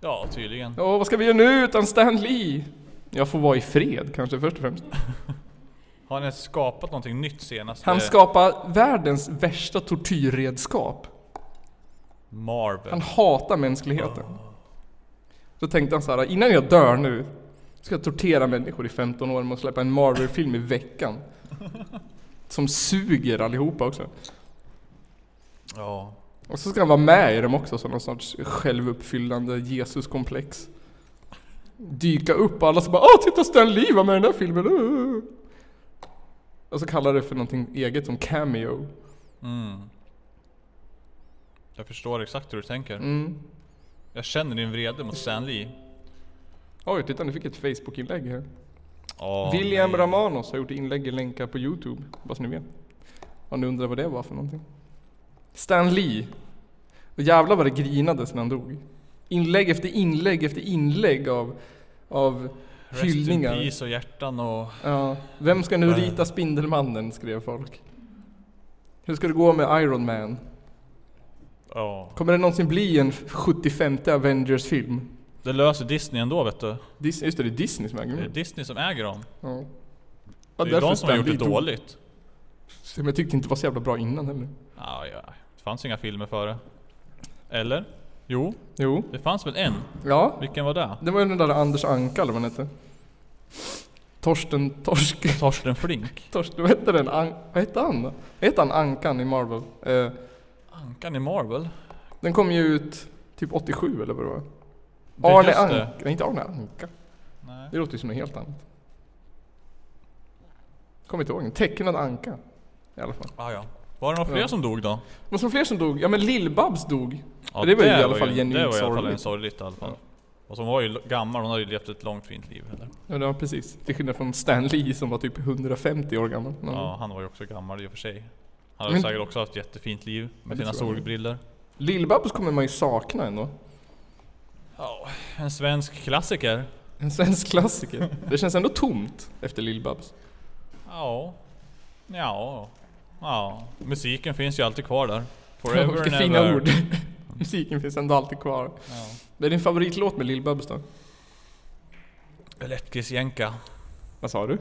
Speaker 2: Ja, tydligen.
Speaker 1: Ja, vad ska vi göra nu utan Stan Lee? Jag får vara i fred kanske först och främst.
Speaker 2: Har ni skapat någonting nytt senast?
Speaker 1: Han
Speaker 2: Eh,
Speaker 1: skapar världens värsta tortyrredskap.
Speaker 2: Marvel.
Speaker 1: Han hatar mänskligheten. Då tänkte han så här, innan jag dör nu ska jag tortera människor i 15 år med att släppa en Marvel-film i veckan. Som suger allihopa också.
Speaker 2: Ja.
Speaker 1: Och så ska han vara med i dem också som någon sorts självuppfyllande Jesuskomplex. Dyka upp och alla så bara Åh titta Stan Lee var med i den där filmen! Uh. Och så kallar det för någonting eget som cameo.
Speaker 2: Mm. Jag förstår exakt hur du tänker.
Speaker 1: Mm.
Speaker 2: Jag känner din vrede mot Stan Lee.
Speaker 1: Oj, titta nu fick jag ett Facebook-inlägg här.
Speaker 2: Ja,
Speaker 1: William
Speaker 2: nej.
Speaker 1: Ramanos har gjort inlägg i länkar på Youtube, bara så ni vet. Om ni undrar vad det var för någonting. Stan Lee. Och jävlar vad det grinades när han dog. Inlägg efter inlägg efter inlägg av, av
Speaker 2: Rest
Speaker 1: hyllningar.
Speaker 2: in peace och hjärtan och...
Speaker 1: Ja. Vem ska nu
Speaker 2: Nej.
Speaker 1: rita Spindelmannen? skrev folk. Hur ska det gå med Iron Man?
Speaker 2: Ja.
Speaker 1: Kommer det någonsin bli en 75 Avengers-film?
Speaker 2: Det löser Disney ändå vet du.
Speaker 1: Dis- just det, det är Disney som äger
Speaker 2: Det är
Speaker 1: den.
Speaker 2: Disney som äger dem.
Speaker 1: Mm. Ja.
Speaker 2: Det
Speaker 1: Ja,
Speaker 2: är ju
Speaker 1: därför
Speaker 2: de som
Speaker 1: Stan
Speaker 2: har gjort det
Speaker 1: Lee dog.
Speaker 2: dåligt.
Speaker 1: Som jag tyckte inte var så jävla bra innan heller.
Speaker 2: Ja, ja. Det fanns inga filmer före. Eller? Jo,
Speaker 1: Jo.
Speaker 2: det fanns väl en?
Speaker 1: Ja.
Speaker 2: Vilken var det?
Speaker 1: Det var ju den där Anders Anka eller vad han hette. Torsten Torsk... <laughs>
Speaker 2: Torsten Flink.
Speaker 1: Torsten, vad hette den? An- vad hette han då? Hette han Ankan i Marvel? Eh,
Speaker 2: Ankan i Marvel?
Speaker 1: den kom ju ut typ 87 eller vad det var.
Speaker 2: Det är
Speaker 1: Arne
Speaker 2: just
Speaker 1: Anka.
Speaker 2: det.
Speaker 1: Nej, inte Arne Anka.
Speaker 2: Nej.
Speaker 1: Det låter ju som något helt annat. Kommer inte ihåg. En tecknad anka. I alla fall.
Speaker 2: Ah, ja. Var det några fler
Speaker 1: Ja.
Speaker 2: som dog då?
Speaker 1: Men som fler som dog. Ja men Lill-Babs dog.
Speaker 2: Ja,
Speaker 1: det var ju i alla fall genuint
Speaker 2: Det var i alla fall en
Speaker 1: sorgligt.
Speaker 2: sorgligt i alla fall.
Speaker 1: Ja.
Speaker 2: Och som var ju l- gammal, hon hade ju levt ett långt fint liv. Eller?
Speaker 1: Ja det var precis. Till skillnad från Stan Lee som var typ 150 år gammal. Ja.
Speaker 2: Ja, han var ju också gammal i och för sig. Han hade
Speaker 1: Men-
Speaker 2: säkert också haft ett jättefint liv med
Speaker 1: det
Speaker 2: sina
Speaker 1: tror jag.
Speaker 2: solbriller.
Speaker 1: Lill-Babs kommer man ju sakna ändå.
Speaker 2: Ja, en svensk klassiker.
Speaker 1: En svensk klassiker. det känns ändå tomt efter Lill-Babs.
Speaker 2: Ja. Ja. Ja. Musiken finns ju
Speaker 1: <laughs>
Speaker 2: alltid kvar där. Forever
Speaker 1: Vilka
Speaker 2: and
Speaker 1: fina
Speaker 2: ever.
Speaker 1: ord. <laughs> Musiken finns ändå alltid kvar.
Speaker 2: Ja.
Speaker 1: Vad är din favoritlåt med Lill-Babs då?
Speaker 2: Lättkiss-jänka.
Speaker 1: Vad sa du?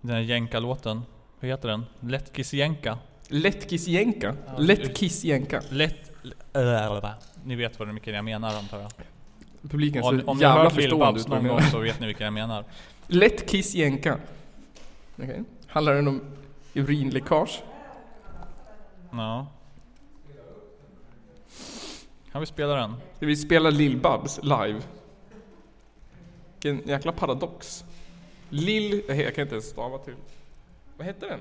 Speaker 2: Den här jänka-låten. Vad heter den? Lättkiss-jänka.
Speaker 1: Lättkissjänka?
Speaker 2: Ja,
Speaker 1: Lättkissjänka.
Speaker 2: Lätt... Äh, ni vet vad vilken jag menar antar jag.
Speaker 1: Publiken
Speaker 2: Om,
Speaker 1: ser
Speaker 2: om ni har
Speaker 1: jävla
Speaker 2: hört Lil
Speaker 1: förstående
Speaker 2: Babs
Speaker 1: ut. vad jag
Speaker 2: någon
Speaker 1: menar.
Speaker 2: gång så vet ni vilken jag menar.
Speaker 1: Lätt kiss jänka. Okej. Handlar den om urinläckage?
Speaker 2: Ja. Kan vi spela den?
Speaker 1: Ska vi spela Lill-Babs live? Vilken jäkla paradox. Lill... eh, Jag kan inte ens stava till. Vad hette den?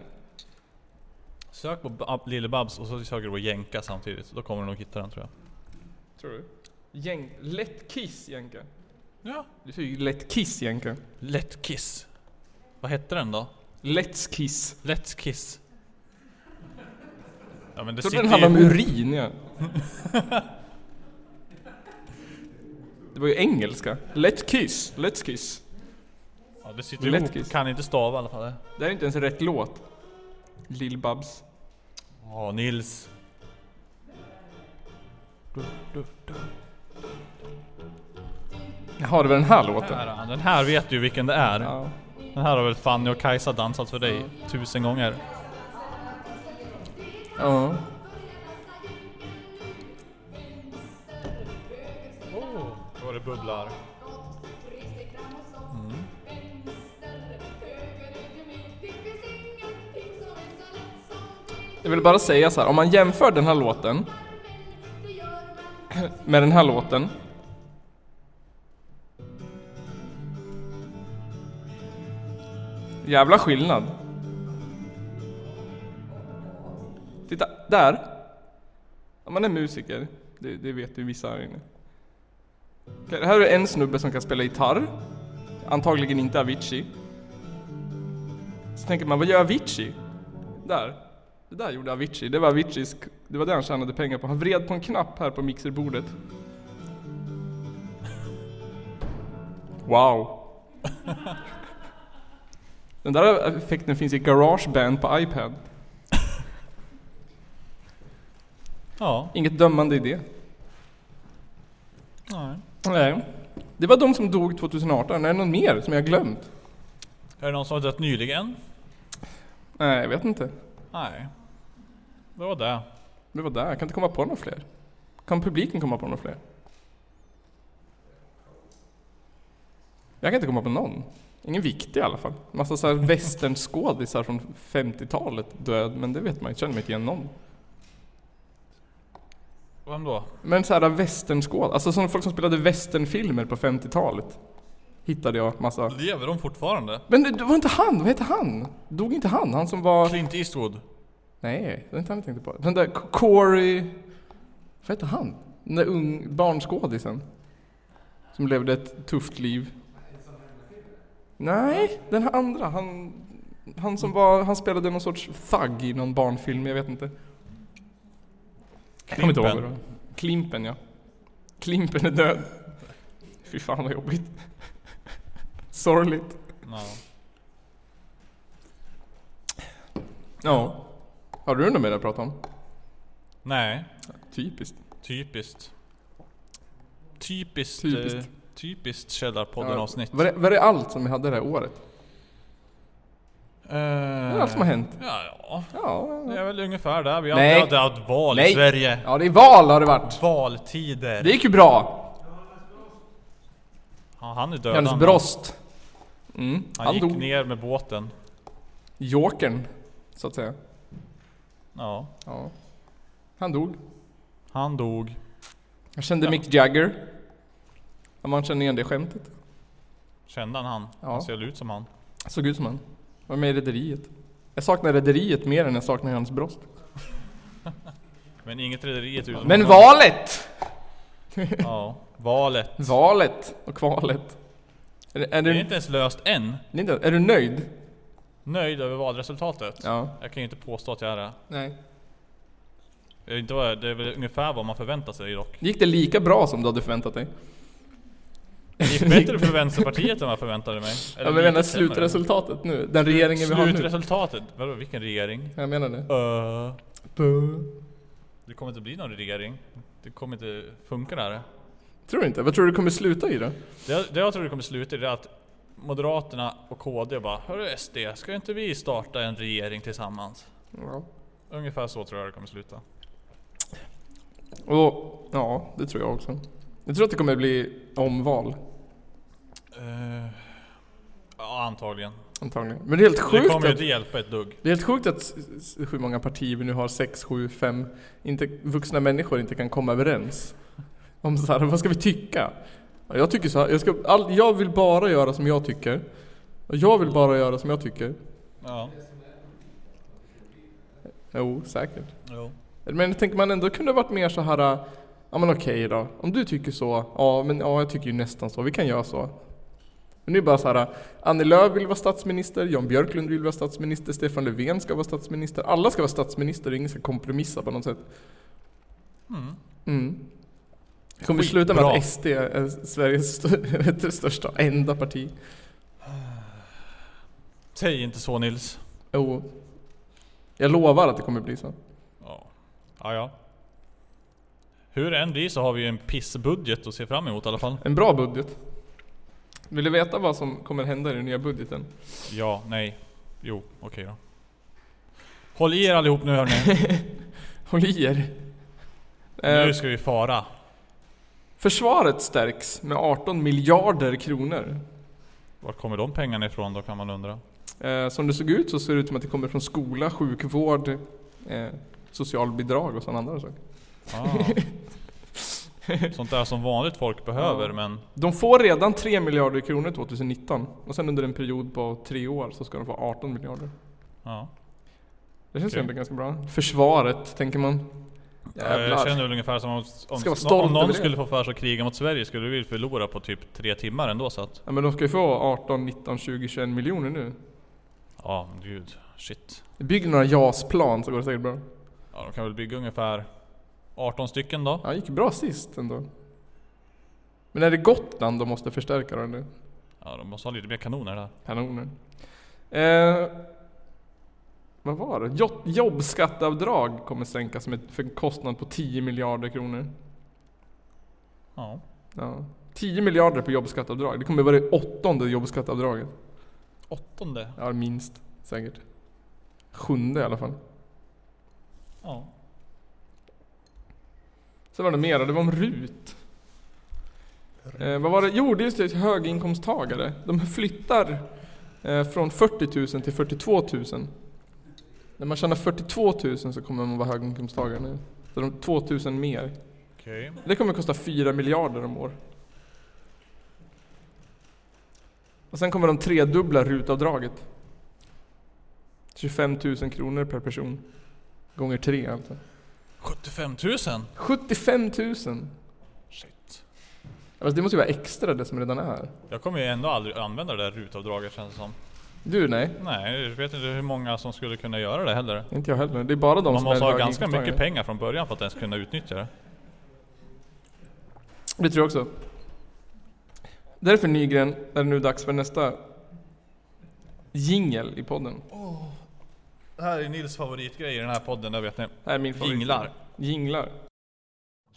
Speaker 2: Sök på Ba- Lille Babs och så söker du på Jänka samtidigt. Då kommer du nog hitta den tror jag.
Speaker 1: Tror du? Gäng... Lätt kiss jänka.
Speaker 2: Ja.
Speaker 1: Du säger ju lätt kiss jänka.
Speaker 2: Let's Kiss. Vad hette den då?
Speaker 1: Let's kiss.
Speaker 2: Let's Kiss. Ja men det
Speaker 1: Jag trodde
Speaker 2: sitter
Speaker 1: den handlade om
Speaker 2: ju...
Speaker 1: urin ja. Det var ju engelska. Let's kiss, let's kiss.
Speaker 2: Ja, det sitter ihop.
Speaker 1: Lättkis.
Speaker 2: Kan inte stava i alla fall. eh.
Speaker 1: Det här är inte ens rätt låt. Lill-Babs.
Speaker 2: Ja, Nils. Du, du, du.
Speaker 1: Jaha, det var den här låten?
Speaker 2: Här, den här vet du vilken det är.
Speaker 1: Ja.
Speaker 2: Den här har väl Fanny och Kajsa dansat för dig tusen gånger.
Speaker 1: ja.
Speaker 2: Oh, vad det bubblar.
Speaker 1: Jag vill bara säga så här, om man jämför den här låten med den här låten. Jävla skillnad. Titta, där. Om man är musiker, det, det vet ju vissa här inne. Okej, här är en snubbe som kan spela gitarr. Antagligen inte Avicii. Så tänker man, vad gör Avicii? Där. Det där gjorde Avicii. Det var Aviciis, det var det han tjänade pengar på. Han vred på en knapp här på mixerbordet. Wow. <laughs> Den där effekten finns i Garageband på iPad.
Speaker 2: Ja,
Speaker 1: Inget dömande i det.
Speaker 2: nej.
Speaker 1: Nej. Det var de som dog 2018. Är det någon mer som jag har glömt?
Speaker 2: Är det någon som har dött nyligen?
Speaker 1: Nej, jag vet inte.
Speaker 2: Nej. Det var det.
Speaker 1: Det var där. Jag kan inte komma på några fler. Kan publiken komma på några fler? Jag kan inte komma på någon. Ingen viktig i alla fall. Massa så här västernskådisar från 50-talet död, men det vet man ju, känner man inte igen någon.
Speaker 2: Vem då?
Speaker 1: Men så här västernskåd, alltså som folk som spelade västernfilmer på 50-talet. Hittade jag massa.
Speaker 2: Lever de fortfarande?
Speaker 1: Men det, det var inte han, vad hette han? Dog inte han? Han som var...
Speaker 2: Clint Eastwood?
Speaker 1: Nej, det var inte han jag tänkte på. Den där K- Corey... Vad hette han? Den där ung barnskådisen. Som levde ett tufft liv. Nej, den här andra. Han, han som var... Han spelade någon sorts thug i någon barnfilm, jag vet inte. Jag kommer inte ihåg vad det var. Klimpen, ja. Klimpen är död. Fy fan vad jobbigt. <laughs> Sorgligt.
Speaker 2: No.
Speaker 1: Ja. Har du något mer att prata om?
Speaker 2: Nej,
Speaker 1: Typiskt.
Speaker 2: typiskt. Typiskt,
Speaker 1: Typiskt.
Speaker 2: typiskt. typiskt Källarpodden-avsnitt.
Speaker 1: Ja, var, det, var det allt som vi hade det här året?
Speaker 2: Eh,
Speaker 1: Det är allt som har hänt.
Speaker 2: Ja, ja.
Speaker 1: Ja,
Speaker 2: Det är väl ungefär där. Vi har
Speaker 1: Nej.
Speaker 2: aldrig haft val i
Speaker 1: Nej.
Speaker 2: Sverige.
Speaker 1: ja det är val har det varit.
Speaker 2: Valtider.
Speaker 1: Det gick ju bra.
Speaker 2: Ja, han är död.
Speaker 1: Johannes
Speaker 2: han.
Speaker 1: Brost. Mm,
Speaker 2: Han,
Speaker 1: han
Speaker 2: gick
Speaker 1: dog.
Speaker 2: ner med båten.
Speaker 1: Jokern, så att säga.
Speaker 2: Ja,
Speaker 1: Ja. Han dog.
Speaker 2: han dog.
Speaker 1: Jag kände
Speaker 2: Ja.
Speaker 1: Mick Jagger. Om man känner igen det skämtet.
Speaker 2: Kände han han?
Speaker 1: Ja.
Speaker 2: Han ser väl ut som han.
Speaker 1: Såg ut som han. Var med i Rederiet. Jag saknar Rederiet mer än jag saknar Johannes Brost.
Speaker 2: Men inget rederiet ut som
Speaker 1: Men
Speaker 2: honom.
Speaker 1: valet!
Speaker 2: Ja, valet.
Speaker 1: Valet och kvalet. Är, är,
Speaker 2: Det
Speaker 1: du,
Speaker 2: är inte ens löst än.
Speaker 1: inte, är du nöjd?
Speaker 2: Nöjd över valresultatet?
Speaker 1: Ja.
Speaker 2: Jag kan ju inte påstå att jag är det.
Speaker 1: Nej.
Speaker 2: Det är, inte vad, jag- det är väl ungefär vad man förväntar sig dock.
Speaker 1: Gick det lika bra som du hade förväntat dig?
Speaker 2: Det gick bättre för Vänsterpartiet än vad jag förväntade mig. Eller
Speaker 1: Jag
Speaker 2: lite
Speaker 1: menar
Speaker 2: sämre.
Speaker 1: slutresultatet nu. Den regeringen vi har nu.
Speaker 2: Slutresultatet? Vadå, vilken regering?
Speaker 1: Jag menar det.
Speaker 2: Eh, det kommer inte bli någon regering. Det kommer inte funka det här.
Speaker 1: Tror du inte? Vad tror du det kommer sluta i då?
Speaker 2: Det jag, det jag tror det kommer sluta i det är att Moderaterna och KD bara Hörru SD, ska inte vi starta en regering tillsammans? Ungefär så tror jag det kommer sluta.
Speaker 1: Och, ja, det tror jag också. Jag tror att det kommer bli omval,
Speaker 2: Eh, ja, antagligen.
Speaker 1: antagligen. Men det är helt
Speaker 2: Det
Speaker 1: sjukt
Speaker 2: kommer ju
Speaker 1: att,
Speaker 2: inte hjälpa ett dugg.
Speaker 1: det är helt sjukt att s- s- hur många partier vi nu har, sex, sju, fem, inte, vuxna människor inte kan komma överens. Om så här, vad ska vi tycka? Ja, Jag tycker så här, jag, ska, all, jag vill bara göra som jag tycker. Och jag vill bara göra som jag tycker.
Speaker 2: Ja,
Speaker 1: Jo, säkert.
Speaker 2: jo.
Speaker 1: Men tänker man ändå kunde varit mer så här. äh, Ja men okej då. Om du tycker så. Ja men ja, jag tycker ju nästan så. Vi kan göra så. Men nu är det bara så här, Annie Lööf vill vara statsminister, Jan Björklund vill vara statsminister, Stefan Löfven ska vara statsminister. Alla ska vara statsminister och ingen ska kompromissa på något sätt.
Speaker 2: Mm.
Speaker 1: Mm. Det kommer
Speaker 2: Skitbra.
Speaker 1: sluta med att SD är Sveriges <laughs> st- största, enda parti.
Speaker 2: Säg inte så Nils.
Speaker 1: Jo. Jag lovar att det kommer bli så.
Speaker 2: Ja. ja, ja. Hur det än blir så har vi ju en pissbudget att se fram emot i alla fall.
Speaker 1: En bra budget. Vill du veta vad som kommer hända i den nya budgeten?
Speaker 2: Ja, nej. Jo, okej då. Håll i er allihop
Speaker 1: <laughs>
Speaker 2: nu hörni.
Speaker 1: Håll i er. Eh,
Speaker 2: Nu ska vi fara.
Speaker 1: försvaret stärks med 18 miljarder kronor.
Speaker 2: Var kommer de pengarna ifrån då kan man undra.
Speaker 1: Eh, som det såg ut så ser det ut som att det kommer från skola, sjukvård, eh, socialbidrag och sådana andra saker. <laughs>
Speaker 2: Ah. Sånt där som vanligt folk behöver
Speaker 1: Ja.
Speaker 2: men...
Speaker 1: De får redan 3 miljarder kronor 2019 och sen under en period på tre år så ska de få 18 miljarder.
Speaker 2: Ja.
Speaker 1: Det känns
Speaker 2: Okej.
Speaker 1: ju ändå ganska bra. Försvaret, tänker man.
Speaker 2: Eh, Jag känner väl ungefär som om, om,
Speaker 1: Ska vara
Speaker 2: om,
Speaker 1: stolt
Speaker 2: om någon
Speaker 1: över det.
Speaker 2: skulle få för sig att kriga mot Sverige skulle vi förlora på typ tre timmar ändå så att...
Speaker 1: Ja, men de ska ju få 18, 19, 20, 21 miljoner nu.
Speaker 2: Ja, men gud. Shit.
Speaker 1: Bygg några JAS-plan så går det säkert bra.
Speaker 2: Ja, de kan väl bygga ungefär 18 stycken då.
Speaker 1: Ja, det gick bra sist ändå. Men är det Gotland de måste förstärka då nu?
Speaker 2: Ja, de måste ha lite mer kanoner där.
Speaker 1: Kanoner. Eh, vad var det? Jo- Jobbskatteavdrag kommer sänkas med för en kostnad på 10 miljarder kronor.
Speaker 2: Ja.
Speaker 1: Ja. 10 miljarder på jobbskatteavdrag. Det kommer vara det åttonde jobbskatteavdraget.
Speaker 2: Åttonde.
Speaker 1: Ja, minst säkert. Sjunde i alla fall.
Speaker 2: Ja.
Speaker 1: Sen var det mera, det var om RUT. Eh, vad var det? Jo, det är just det, höginkomsttagare. De flyttar eh, från 40 000 till 42 000. När man tjänar 42 000 så kommer man vara höginkomsttagare nu. Så de 2 000 mer.
Speaker 2: Okej.
Speaker 1: Det kommer kosta 4 miljarder om år. Och sen kommer de tredubbla RUT-avdraget. 25 000 kronor per person. Gånger tre alltså.
Speaker 2: 75 000?
Speaker 1: 75 000!
Speaker 2: Shit.
Speaker 1: Alltså det måste ju vara extra det som redan är.
Speaker 2: Jag kommer ju ändå aldrig använda det där rutavdraget känns det som.
Speaker 1: Du nej,
Speaker 2: Nej, jag vet inte hur många som skulle kunna göra det heller.
Speaker 1: inte jag heller. Det är bara de
Speaker 2: Man
Speaker 1: som
Speaker 2: måste
Speaker 1: är
Speaker 2: ha ganska
Speaker 1: höginkomsttagare.
Speaker 2: mycket pengar från början för att ens kunna utnyttja det.
Speaker 1: Det tror jag också. Därför Nygren är det nu dags för nästa jingel i podden.
Speaker 2: Det här är Nils favoritgrej i den här podden, det vet ni.
Speaker 1: Här är min favorit.
Speaker 2: Jinglar.
Speaker 1: Jinglar.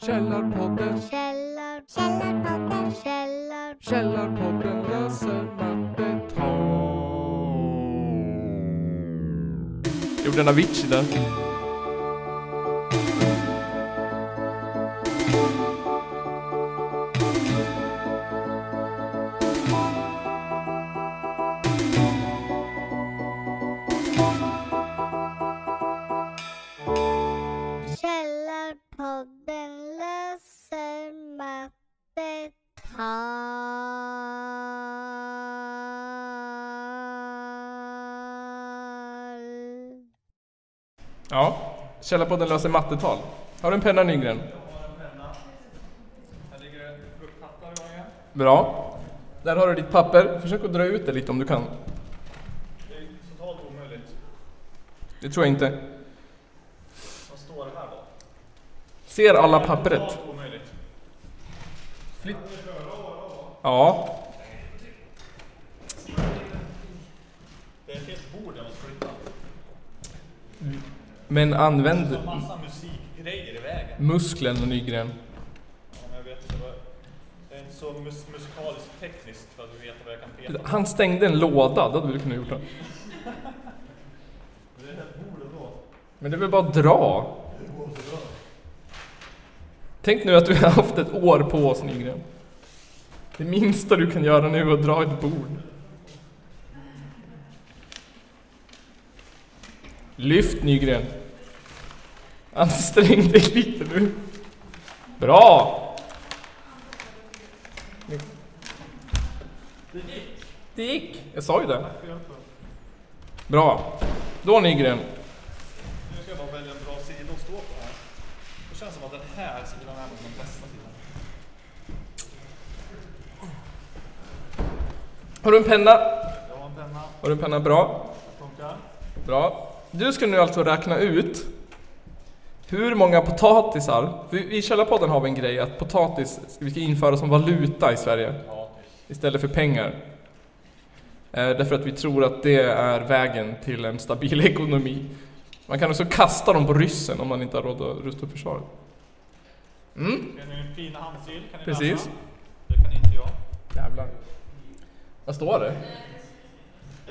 Speaker 1: Källarpodden,
Speaker 3: Källar, källarpodden, källar,
Speaker 1: Källarpodden löser mattetal. Gjorde en Avicii där.
Speaker 3: källarpodden löser mattetal.
Speaker 1: Ja. Källarpodden löser mattetal. Har du en penna Nygren? Bra. Där har du ditt papper. Försök att dra ut det lite om du kan.
Speaker 2: Det är totalt omöjligt.
Speaker 1: Det tror jag inte.
Speaker 2: Vad står det här då?
Speaker 1: Ser alla pappret?
Speaker 2: omöjligt.
Speaker 1: Flytt. Ja.
Speaker 2: Det är ett helt bord jag måste flytta.
Speaker 1: Men använd
Speaker 2: Massa musikgrejer i vägen.
Speaker 1: musklerna Nygren.
Speaker 2: Jag vet inte vad... Det är inte så mus- musikaliskt tekniskt för att veta vad jag kan peta.
Speaker 1: Han stängde en låda, det hade du kunnat gjort. Det. Men det är väl bara att dra? Tänk nu att du har haft ett år på oss Nygren. Det minsta du kan göra nu är att dra ett bord. Lyft Nygren. Ansträng dig lite nu. Bra! Det gick! Jag sa ju det. Bra. Då Nygren.
Speaker 2: Nu ska jag bara välja en bra sida att stå på här. Det känns som att den här sidan är den bästa sidan.
Speaker 1: Har du en penna?
Speaker 2: Jag har en penna,
Speaker 1: Har du en penna? Bra.
Speaker 2: funkar.
Speaker 1: Bra. Du ska nu alltså räkna ut hur många potatisar... vi- I Källarpodden har vi en grej att potatis ska- vi ska införa som valuta i Sverige istället för pengar. Eh, därför att vi tror att det är vägen till en stabil <laughs> ekonomi. Man kan också kasta dem på ryssen om man inte har råd att rusta upp försvaret. Mm,
Speaker 2: Det är min fina handstil, kan ni
Speaker 1: Precis.
Speaker 2: läsa? Det kan inte jag.
Speaker 1: jävlar. Vad står det?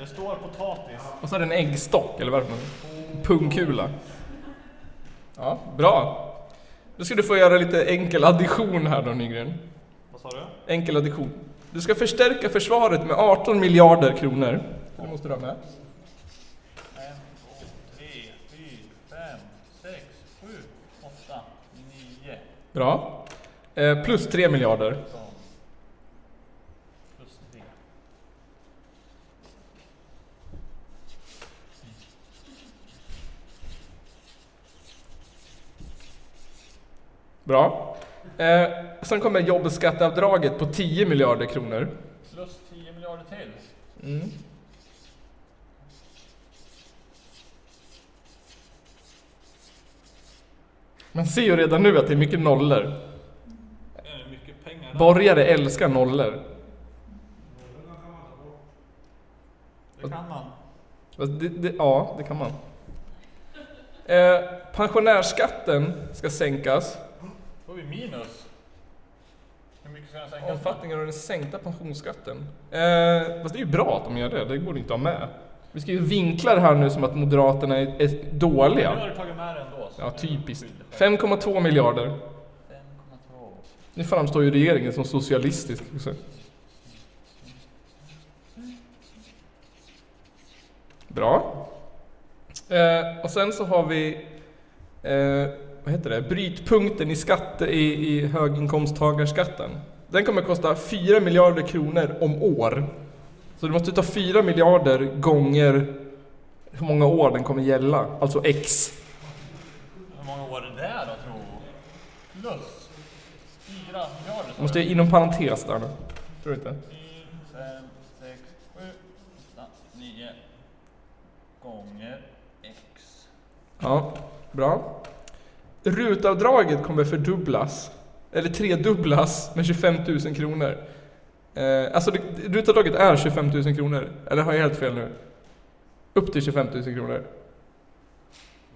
Speaker 2: Det står potatis.
Speaker 1: Och så är det en äggstock, eller vad är det för något? Pungkula. Ja, bra. Då ska du få göra lite enkel addition här då Nygren.
Speaker 2: Vad sa du?
Speaker 1: Enkel addition. Du ska förstärka försvaret med 18 miljarder kronor. Det måste du ha med.
Speaker 2: En, två, tre, fyra, fem, sex, sju, åtta, nio.
Speaker 1: Bra. Eh, plus 3 miljarder.
Speaker 2: Som plus tre.
Speaker 1: Bra. Eh, sen kommer jobbskatteavdraget på 10 miljarder kronor.
Speaker 2: Plus 10 miljarder till.
Speaker 1: Man ser ju redan nu att det är mycket nollor.
Speaker 2: Det är mycket pengar där.
Speaker 1: Borgare älskar nollor.
Speaker 2: Det kan man.
Speaker 1: Fast Det, det, ja, det kan man. Eh, pensionärsskatten ska sänkas.
Speaker 2: Då får vi minus. Hur mycket ska den sänkas?
Speaker 1: Omfattningen av den sänkta pensionsskatten. Eh, fast det är ju bra att de gör det, det borde inte ha med. Vi ska ju vinkla det här nu som att Moderaterna är, är
Speaker 2: Nu
Speaker 1: dåliga.
Speaker 2: har du tagit med det ändå. så
Speaker 1: Ja, typ.
Speaker 2: det är ju
Speaker 1: typiskt.
Speaker 2: skyldig för.
Speaker 1: 5,2 miljarder.
Speaker 2: 5,2.
Speaker 1: Nu framstår ju regeringen som socialistisk också. Bra. Eh, och sen så har vi, eh, vad heter det, brytpunkten i, skatte, i, i höginkomsttagarskatten. Den kommer kosta 4 miljarder kronor om år. Så du måste ta 4 miljarder gånger hur många år den kommer gälla, alltså X.
Speaker 2: Hur många år är det då tror du? Plus 4 miljarder.
Speaker 1: Måste jag inom parentes där nu? Tror du inte?
Speaker 2: 5, 6, 7, 8, 9 gånger x.
Speaker 1: Ja, bra. Rutavdraget kommer fördubblas, eller tredubblas med 25 000 kronor. Eh, alltså det, rutavdraget är 25 000 kronor, eller har jag helt fel nu? Upp till 25 000 kronor.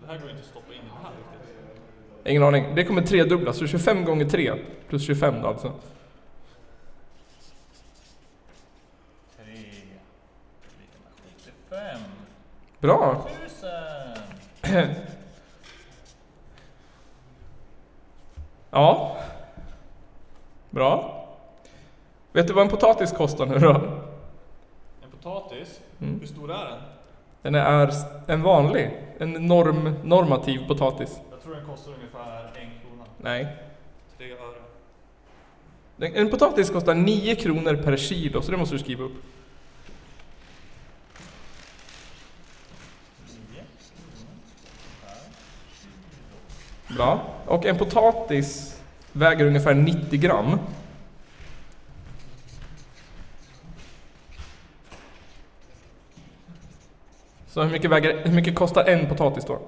Speaker 2: Det här går inte att stoppa in i det här riktigt.
Speaker 1: Ingen aning. Det kommer tredubblas, så 25 gånger 3 plus 25 då alltså.
Speaker 2: 3 lika med 75
Speaker 1: Bra!
Speaker 2: 000.
Speaker 1: <clears throat> Ja. Bra. Vet du vad en potatis kostar nu då?
Speaker 2: En potatis,
Speaker 1: Mm.
Speaker 2: hur stor är den?
Speaker 1: Den är s- en vanlig, en norm, normativ potatis.
Speaker 2: Jag tror den kostar ungefär 1 krona.
Speaker 1: Nej,
Speaker 2: 3 öre.
Speaker 1: Den- En potatis kostar 9 kronor per kilo, så det måste du skriva upp.
Speaker 2: 9 kronor per kilo.
Speaker 1: Bra. Och en potatis väger ungefär 90 gram. Så hur mycket, väger, hur mycket kostar en potatis då?
Speaker 2: Eh,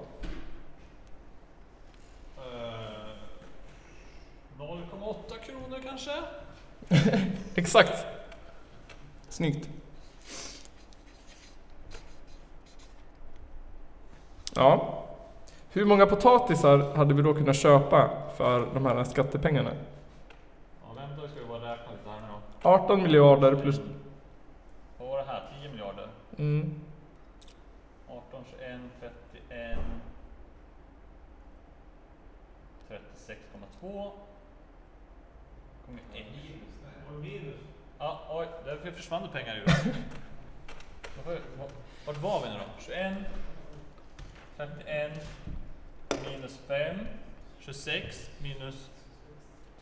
Speaker 2: 0,8 kronor kanske?
Speaker 1: Exakt! Snyggt. Ja. Hur många potatisar hade vi då kunnat köpa för de här skattepengarna?
Speaker 2: Ja, vänta, vi ska ju bara räkna lite här nu då.
Speaker 1: 18 miljarder plus...
Speaker 2: Vad var det här? 10 miljarder?
Speaker 1: Mm.
Speaker 2: 18, 21, 31, 36,2. Gånger 1. Ja, oj, där försvann det <laughs> pengar ju. Varför- va- Vart var vi nu då? 21, 31, minus 5, 26, minus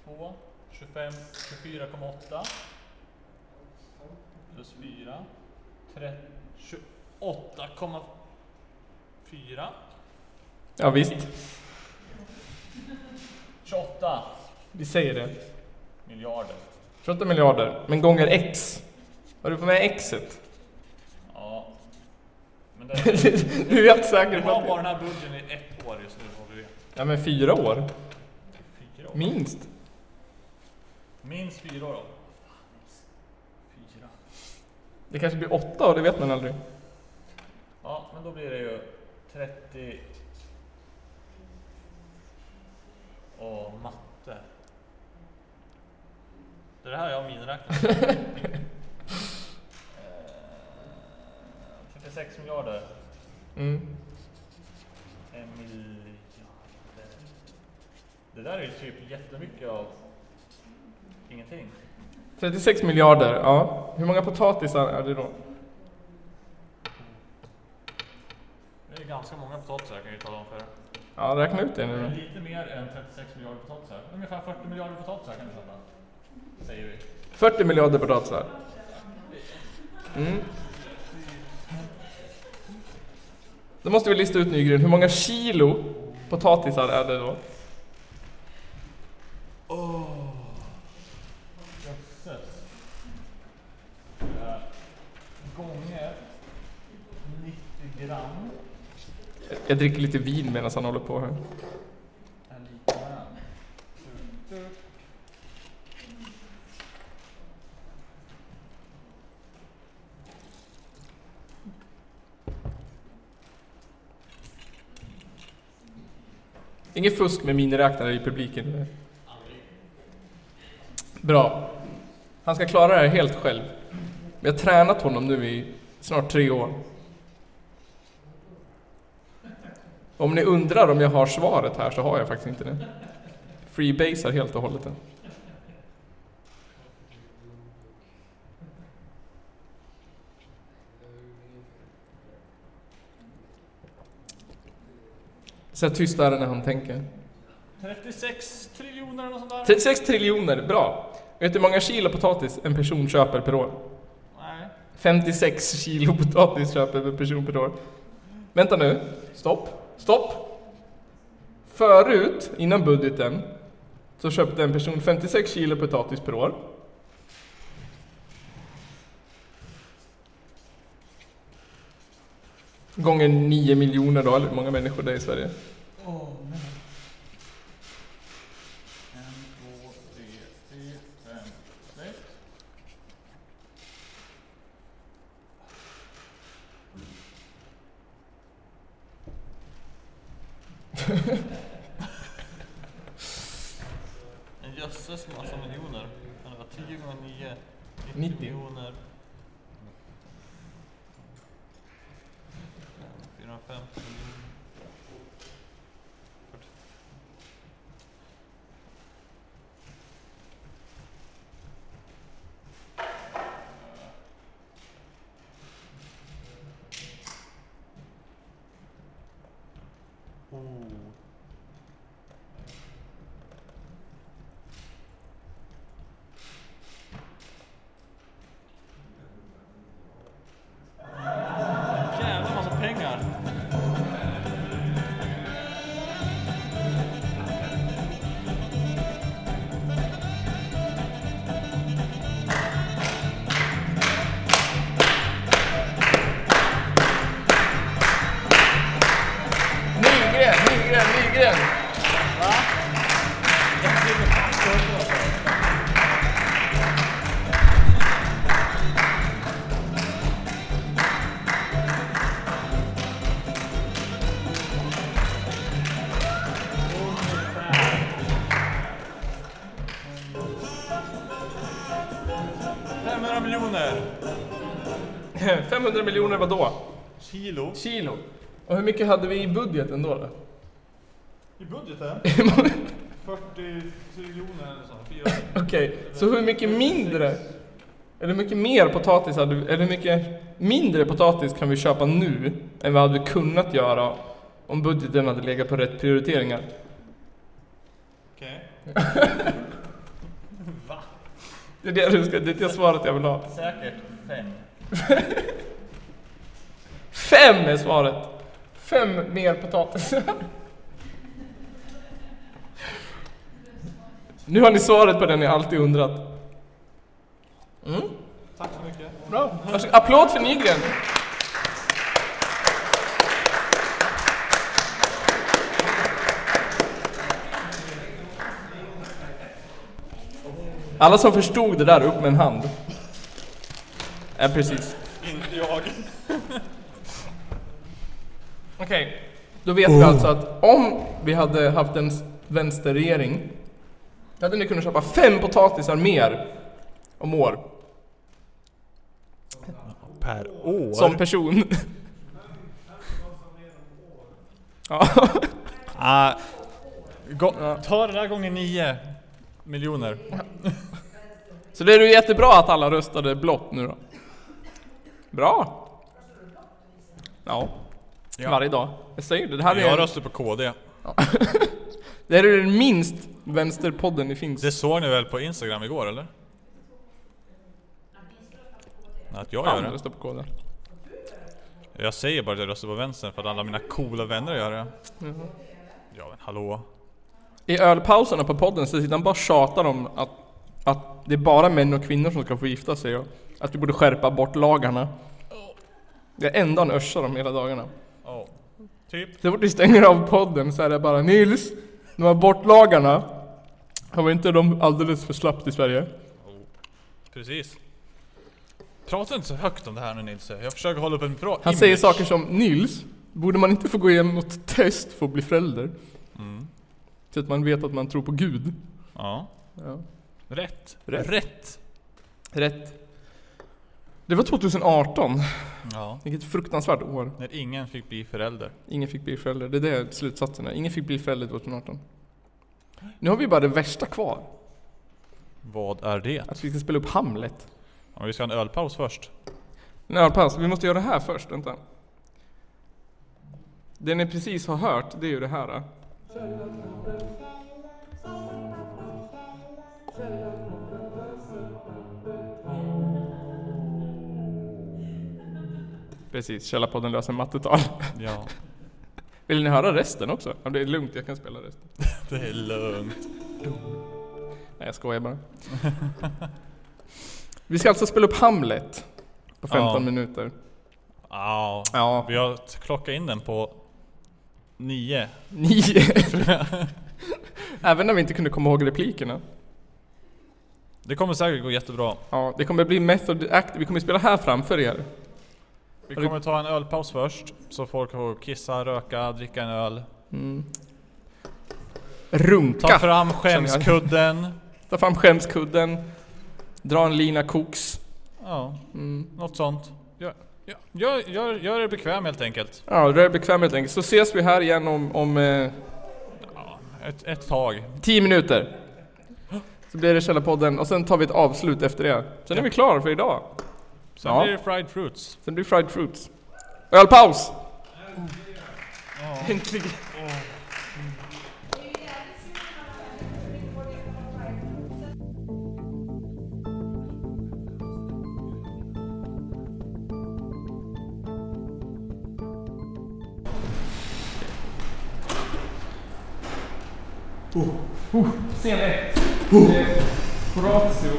Speaker 2: 2, 25, 24,8. Plus 4, 30, 28,4.
Speaker 1: Ja visst,
Speaker 2: 28
Speaker 1: vi säger det.
Speaker 2: miljarder.
Speaker 1: 28 miljarder, men gånger x. <laughs> Har du på med exet?
Speaker 2: Ja.
Speaker 1: <laughs>
Speaker 2: Men det,
Speaker 1: du är helt säker
Speaker 2: vi
Speaker 1: på
Speaker 2: har bara
Speaker 1: att...
Speaker 2: den här budgeten i ett år just nu, vad du vet.
Speaker 1: Ja men fyra år.
Speaker 2: Fyra år.
Speaker 1: Minst.
Speaker 2: Minst fyra år. då. Fyra.
Speaker 1: Det kanske blir åtta år, det vet man aldrig.
Speaker 2: Ja, men då blir det ju 30... Åh, matte. Det är det här jag har <laughs> miniräknat. Eh, 36 miljarder.
Speaker 1: Mm.
Speaker 2: En miljard. Det där är ju typ jättemycket av ingenting.
Speaker 1: 36 miljarder, ja. Hur många potatisar är det då?
Speaker 2: Det är ganska många potatisar kan jag ju tala om för er.
Speaker 1: Ja, räkna ut det
Speaker 2: Det är
Speaker 1: nu
Speaker 2: lite mer än 36 miljarder potatisar. Ungefär 40 miljarder potatisar kan vi sätta. Säger vi.
Speaker 1: då. 40 miljarder potatisar. Mm. Då måste vi lista ut Nygren, hur många kilo potatisar är det då?
Speaker 2: Åh! Jösses. Det här Gånger 90 gram.
Speaker 1: Jag dricker lite vin medan han håller på här.
Speaker 2: är lika med den. Tut, tut.
Speaker 1: Inget fusk med miniräknare i publiken. eller? Bra. Han ska klara det här helt själv. Vi har tränat honom nu i snart tre år. Om ni undrar om jag har svaret här så har jag faktiskt inte det. Freebasar helt och hållet. den. Så här tyst är det när han tänker.
Speaker 2: 36 triljoner eller något sånt där?
Speaker 1: 36 triljoner, bra! Vet du hur många kilo potatis en person köper per år?
Speaker 2: Nej.
Speaker 1: 56 kilo potatis köper per person per år. Vänta nu. Stopp. Stopp. Förut, innan budgeten, så köpte en person 56 kilo potatis per år. Gånger 9 miljoner då, eller hur många människor det är i Sverige.
Speaker 2: Åh nej. En, två, tre, fyra, fem, sex. En jösses massa miljoner. Kan det vara 10 gånger 9? 90,
Speaker 1: 90.
Speaker 2: miljoner. 450 miljoner. 40. Oh. Jävla massa pengar.
Speaker 1: Nygren, Nygren, Nygren! <laughs>
Speaker 2: Femhundra miljoner
Speaker 1: 500 miljoner vadå?
Speaker 2: kilo.
Speaker 1: Kilo. Och hur mycket hade vi i budgeten då? då?
Speaker 2: I budgeten? 40 triljoner eller så. Fyra.
Speaker 1: Okej, så hur mycket mindre eller hur mycket mer potatis hade, eller hur mycket mindre potatis kan vi köpa nu än vi hade kunnat göra om budgeten hade legat på rätt prioriteringar?
Speaker 2: Okej.
Speaker 1: Det är det, du ska, det är det svaret jag vill ha.
Speaker 2: Säkert fem.
Speaker 1: Fem är svaret! Fem mer potatis. Nu har ni svaret på det ni alltid undrat. Mm.
Speaker 2: Tack så mycket.
Speaker 1: Bra. Varsågod. Applåd för Nygren. Alla som förstod det där, upp med en hand. Ja, precis.
Speaker 2: Inte jag.
Speaker 1: Okej, då vet vi alltså att om vi hade haft en s- vänsterregering, då hade ni kunnat köpa fem potatisar mer om år,
Speaker 4: Per år?
Speaker 1: som person. ja.
Speaker 2: Ah, gå- ta det där gånger nio miljoner.
Speaker 1: Så det är ju jättebra att alla röstade blått nu då. Bra! Ja, varje dag. Jag säger det, det här
Speaker 2: Jag
Speaker 1: är,
Speaker 2: röstar på KD.
Speaker 1: det här är den minst vänsterpodden det finns.
Speaker 2: Det såg ni väl på Instagram igår eller? Att jag gör
Speaker 1: Fan,
Speaker 2: det?
Speaker 1: rösta på KD.
Speaker 2: Jag säger bara att jag röstar på vänstern för att alla mina coola vänner gör det.
Speaker 1: Mm-hmm.
Speaker 2: Ja men hallå?
Speaker 1: I ölpauserna på podden så sitter han bara och tjatar om att, att det är bara män och kvinnor som ska få gifta sig och att vi borde skärpa bort lagarna. Det är enda han örsar om hela dagarna.
Speaker 2: Ja, typ.
Speaker 1: Så fort vi stänger av podden så är det bara Nils, de här bortlagarna, har vi inte de alldeles för slappt i Sverige?
Speaker 2: Precis. Prata inte så högt om det här nu Nils. Jag försöker hålla upp en bra
Speaker 1: Han säger saker som Nils, borde man inte få gå igenom något test för att bli förälder?
Speaker 2: Mm.
Speaker 1: Så att man vet att man tror på Gud.
Speaker 2: Ja.
Speaker 1: Ja.
Speaker 2: Rätt.
Speaker 1: Rätt.
Speaker 2: Rätt.
Speaker 1: Rätt. Det var 2018,
Speaker 2: Ja.
Speaker 1: vilket fruktansvärt år.
Speaker 2: När ingen fick bli förälder.
Speaker 1: Ingen fick bli förälder, det är det slutsatsen är. Ingen fick bli förälder 2018. Nu har vi bara det värsta kvar,
Speaker 2: Vad är det?
Speaker 1: att vi ska spela upp Hamlet.
Speaker 2: Ja, men vi ska ha en ölpaus först.
Speaker 1: Nej, pass, vi måste göra det här först, vänta. Det ni precis har hört, det är ju det här. Då. Precis, Källarpodden löser mattetal.
Speaker 2: Ja.
Speaker 1: Vill ni höra resten också? Ja, det är lugnt, jag kan spela resten.
Speaker 2: Det är lugnt.
Speaker 1: Nej, jag skojar bara. Vi ska alltså spela upp Hamlet på 15
Speaker 2: Ja.
Speaker 1: minuter.
Speaker 2: Ja.
Speaker 1: Ja,
Speaker 2: Vi har t- klockat in den på nio.
Speaker 1: nio. <laughs> Även när vi inte kunde komma ihåg replikerna.
Speaker 2: Det kommer säkert gå jättebra.
Speaker 1: Ja, det kommer bli method act. Vi kommer spela här framför er.
Speaker 2: Vi
Speaker 1: Har du-
Speaker 2: kommer ta en ölpaus först. Så folk får kissa, röka, dricka en öl. Ta
Speaker 1: Runka.
Speaker 2: fram
Speaker 1: jag.
Speaker 2: skämskudden.
Speaker 1: Ta fram skämskudden. Dra en lina koks.
Speaker 2: Ja,
Speaker 1: Mm.
Speaker 2: något sånt. Gör, gör- gör, gör, gör er bekväm helt enkelt.
Speaker 1: Ja, rör er bekvämt helt enkelt. Så ses vi här igen om, om eh,
Speaker 2: Ett, ett tag.
Speaker 1: tio minuter. Så blir det Källarpodden och sen tar vi ett avslut efter det. Sen är vi klara för idag.
Speaker 2: Sen
Speaker 1: Ja.
Speaker 2: blir det fried fruits.
Speaker 1: Sen blir det fried fruits. Ölpaus! Oh. Äntligen! Scen 1. Eh, Horatio,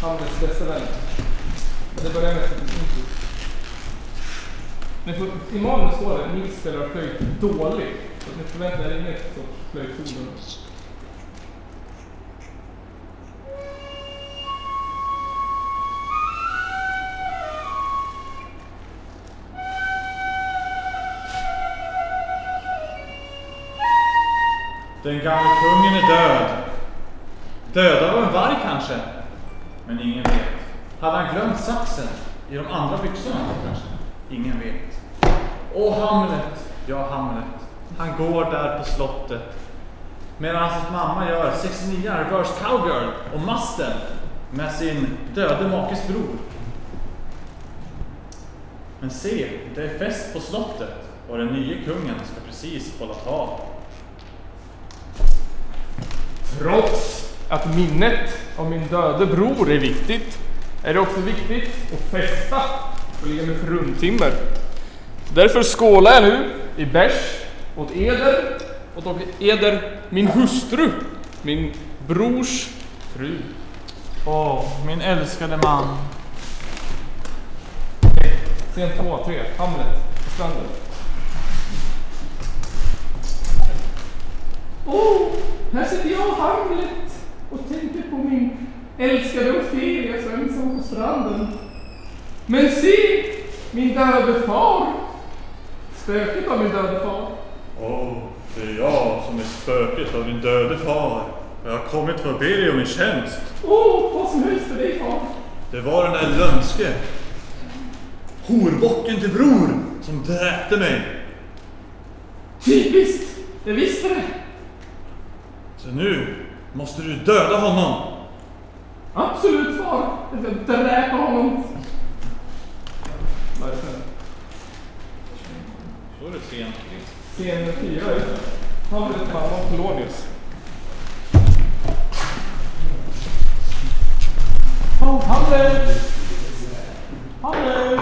Speaker 1: Hamlets bästa vän. Det börjar med men på, i manuset står det Nils spelar flöjt dåligt. Så att ni förväntar er inget sorts flöjttoner.
Speaker 5: Den gamle kungen är död. Dödad av en varg kanske? Men ingen vet. Hade han glömt saxen? I de andra byxorna kanske? Ingen vet. Åh, Hamlet! Ja, Hamlet. Han går där på slottet. Medan hans mamma gör 69 reverse cowgirl och masten med sin döde makes bror. Men se, det är fest på slottet och den nye kungen ska precis hålla tal.
Speaker 1: Trots att minnet av min döde bror är viktigt är det också viktigt att festa och ligga med fruntimmer. Så därför skålar jag nu i bärs åt eder, åt eder min hustru, min brors fru.
Speaker 5: Åh, min älskade man.
Speaker 1: Scen 2, 3, Hamlet, på stranden. Åh, här sitter jag, Hamlet, och tänker på min älskade Ofelia så ensam på stranden. Men se, min döde far! Spöket av min döde far.
Speaker 5: Åh, det är jag som är spöket av din döde far. Jag har kommit för att be dig om en tjänst.
Speaker 1: Åh, vad som helst för dig far.
Speaker 5: Det var den där lömske horbocken till bror som dräpte mig.
Speaker 1: Typiskt, jag visste det.
Speaker 5: Så nu måste du döda honom.
Speaker 1: Absolut far! Jag ska dräpa honom! Vad är det sen?
Speaker 5: Då är det sent.
Speaker 1: Scen 4, just det. Hamlet, mamma och Polonius. Oh, Hamlet! Hamlet!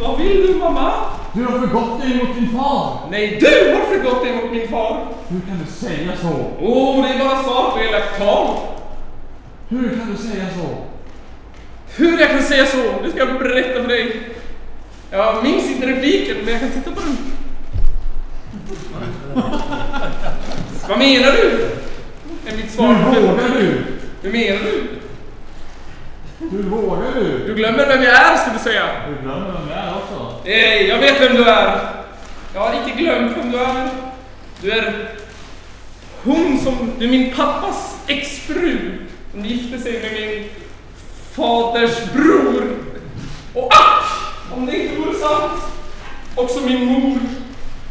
Speaker 1: Vad vill du mamma?
Speaker 5: Du har förgått dig mot din far.
Speaker 1: Nej, du har förgått dig mot min far!
Speaker 5: Hur kan du säga så?
Speaker 1: Åh, oh, det är bara svar på elakt tal!
Speaker 5: Hur kan du säga så?
Speaker 1: Hur jag kan säga så, det ska jag berätta för dig. Jag minns inte repliken, men jag kan titta på den. Vad menar du? Är mitt svar.
Speaker 5: Hur vågar du?
Speaker 1: Hur menar du?
Speaker 5: Hur vågar du?
Speaker 1: Du glömmer vem jag är, skulle du säga.
Speaker 5: Du glömmer vem jag är också.
Speaker 1: Nej, jag vet vem du är. Jag har inte glömt vem du är. Du är hon som... Du är min pappas exfru. Som gifte sig med min faders bror. Och ack! Om det inte vore sant. Också min mor.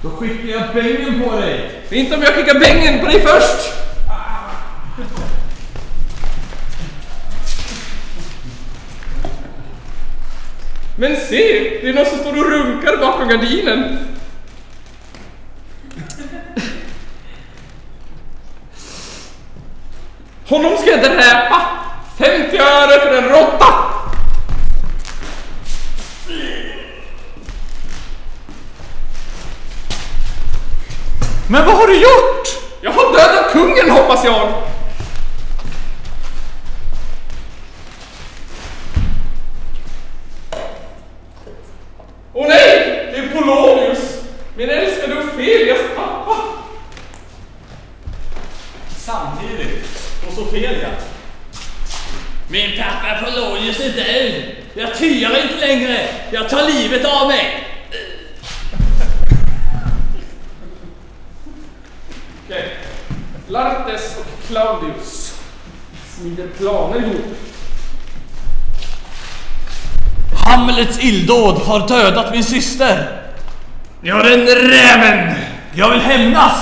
Speaker 5: Då skickar jag bängen på dig.
Speaker 1: Det är inte om jag skickar bängen på dig först. Men se, det är någon som står och runkar bakom gardinen. Honom ska jag dräpa! 50 öre för en råtta! Men vad har du gjort? Jag har dödat kungen hoppas jag! Åh nej! Det är Polonius! Min älskade Ofelias pappa!
Speaker 2: Samtidigt, och Sofelia. Min pappa Polonius är död! Jag tyar inte längre! Jag tar livet av mig!
Speaker 1: Okej. Lartes och Claudius smider planer ihop.
Speaker 2: Hamlets illdåd har dödat min syster!
Speaker 4: Ja den räven!
Speaker 2: Jag vill hämnas!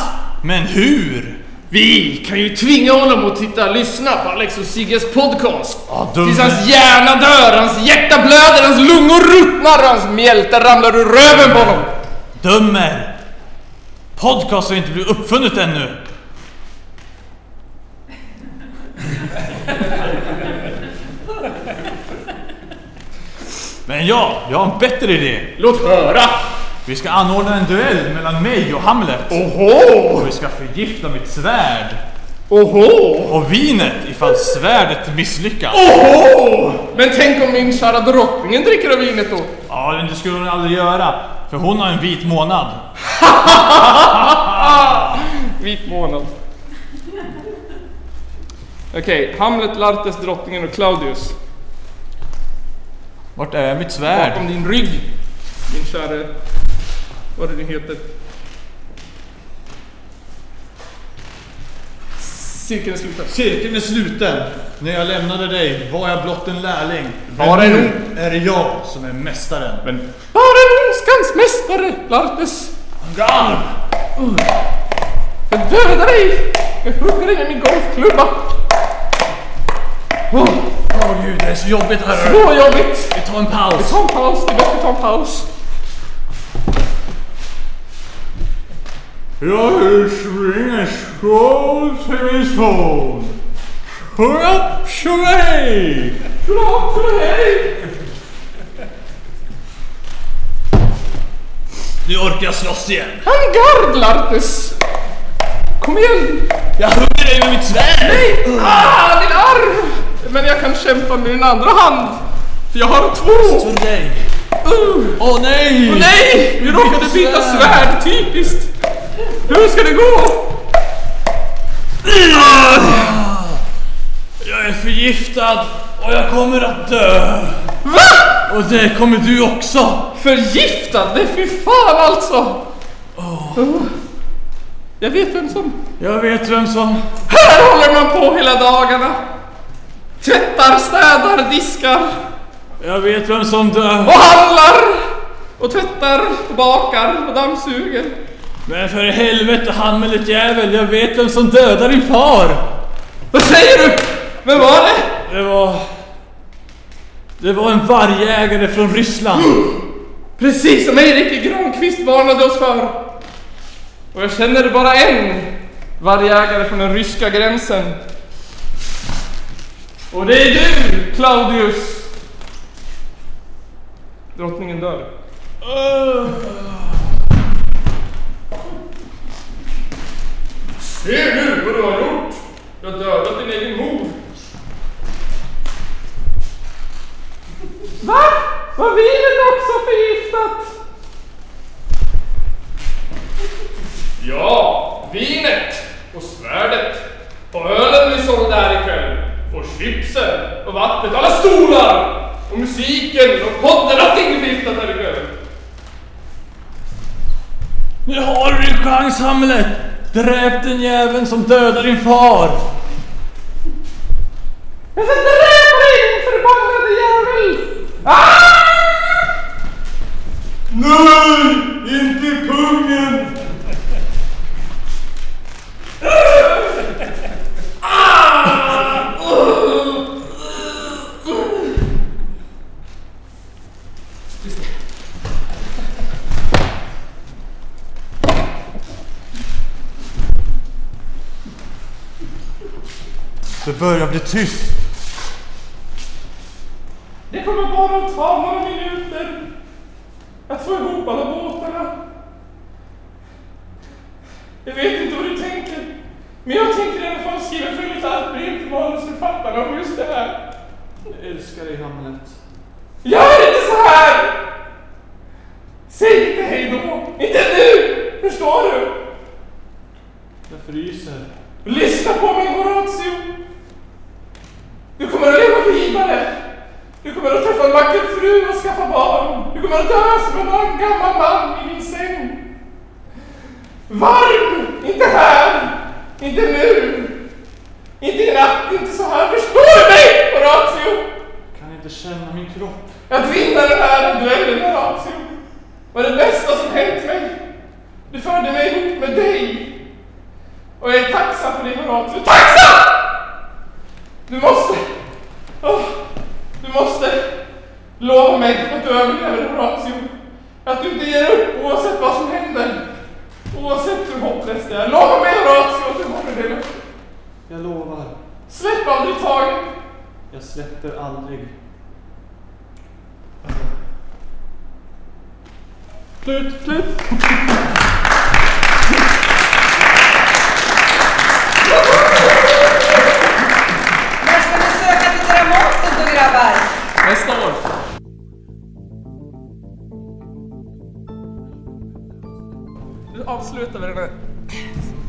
Speaker 2: Men hur?
Speaker 4: Vi kan ju tvinga honom att titta lyssna på Alex och Sigges podcast.
Speaker 2: Ja,
Speaker 4: Tills hans hjärna dör, hans hjärta blöder, hans lungor ruttnar och hans mjälte ramlar ur röven på honom.
Speaker 2: Dömer! Podcast har inte blivit uppfunnet ännu! Men ja, jag har en bättre idé!
Speaker 4: Låt höra!
Speaker 2: Vi ska anordna en duell mellan mig och Hamlet!
Speaker 4: Oho!
Speaker 2: Och vi ska förgifta mitt svärd!
Speaker 4: Oho!
Speaker 2: Och vinet ifall svärdet misslyckas!
Speaker 4: Oho! Men tänk om min kära drottningen dricker av vinet då?
Speaker 2: Ja, men det skulle hon aldrig göra, för hon har en vit månad.
Speaker 1: Vit månad. Okej, Hamlet, Lartes, drottningen och Claudius.
Speaker 2: Vart är mitt svärd?
Speaker 1: Bakom din rygg, din käre... Vad är det nu heter? Cirkeln är sluten.
Speaker 5: Cirkeln är sluten. När jag lämnade dig var jag blott en lärling.
Speaker 4: Bara
Speaker 5: Men
Speaker 4: en
Speaker 5: nu är det jag som är mästaren. Men...
Speaker 1: Bara en ondskans mästare, Lartes!
Speaker 5: Garm!
Speaker 1: Jag dödar dig! Jag hugger dig med min golfklubba! Åh,
Speaker 5: Åh gud, det är så jobbigt här.
Speaker 1: Åh, vad jobbigt!
Speaker 5: Vi tar en paus.
Speaker 1: Ta en paus, det är bättre att ta en paus.
Speaker 5: Jag vill springa skål till min son. Upp tjohej!
Speaker 1: Klart för dig!
Speaker 5: Nu orkar jag slåss igen.
Speaker 1: En gard, Lartes! Kom igen!
Speaker 5: Jag hugger dig med mitt svärd!
Speaker 1: Ah, din arm! men jag kan kämpa med min andra hand! För jag har två!
Speaker 6: Nej!
Speaker 1: Uh.
Speaker 2: Mm.
Speaker 6: Åh nej!
Speaker 1: Åh nej! Vi råkade byta svärd, typiskt! Hur ska det gå?
Speaker 6: Jag är förgiftad och jag kommer att dö!
Speaker 1: VA?
Speaker 6: Och det kommer du också!
Speaker 1: Förgiftad? Det är fy fan alltså! Uh. Jag vet vem som...
Speaker 6: Jag vet vem som...
Speaker 1: Här håller man på hela dagarna! Tvättar, städar, diskar
Speaker 6: Jag vet vem som dör!
Speaker 1: och handlar! Och tvättar, och bakar och dammsuger.
Speaker 6: Men för i helvete handmellet jävel, jag vet vem som dödar din far!
Speaker 1: Vad säger du? Vem var det?
Speaker 6: Det var... Det var en vargägare från Ryssland.
Speaker 1: Precis som Erik Granqvist varnade oss för. Och jag känner bara en vargjägare från den ryska gränsen. Och det är du, Claudius! Drottningen dör. Se nu vad du har gjort! Du har dödat din egen mor. Va? Var vinet också förgiftat? Ja, vinet och svärdet och ölen vi sålde här ikväll och chipsen och vattnet, alla stolar och musiken och podden, allting är förgiftat här ikväll.
Speaker 6: Nu har du din chans Hamlet! Dräp den jäveln som dödar din far!
Speaker 1: Jag ska dräpa dig din förbannade Ah! jävel!
Speaker 6: Nej! Inte pungen!
Speaker 5: Det börjar bli tyst.
Speaker 1: Det kommer bara att ta några minuter att få ihop alla båtarna. Jag vet inte vad du tänker, men jag tänker i alla fall skriva ett väldigt argt brev till manusförfattarna om just det här.
Speaker 6: Jag älskar dig Hamlet.
Speaker 1: Gör inte så här! Säg inte hej då! Inte nu! Förstår du?
Speaker 6: Jag fryser.
Speaker 1: Lyssna på mig Horatio! Du kommer att leva vidare! Du kommer att träffa en vacker fru och skaffa barn! Du kommer att dö som en man- gammal man i din säng! Varm! Inte här! Inte nu! Inte i natt, inte så här. Förstår du mig Horatio?
Speaker 6: Kan inte känna min kropp.
Speaker 1: Att vinna den här duellen Horatio var det bästa som hänt mig. Du förde mig ihop med dig. Och jag är tacksam för det Horatio. Tacksam! Du måste... åh, du måste lova mig att du överlever Horatio. Att du inte ger upp oavsett vad som händer. Oavsett hur hopplöst det är. Lova mig Horatio att du håller det löftet.
Speaker 6: Jag lovar.
Speaker 1: Släpp aldrig taget.
Speaker 6: Jag släpper aldrig.
Speaker 1: Slut, slut.
Speaker 7: När ska ni söka till Dramaten då grabbar?
Speaker 1: Nästa år. Nu avslutar vi den här.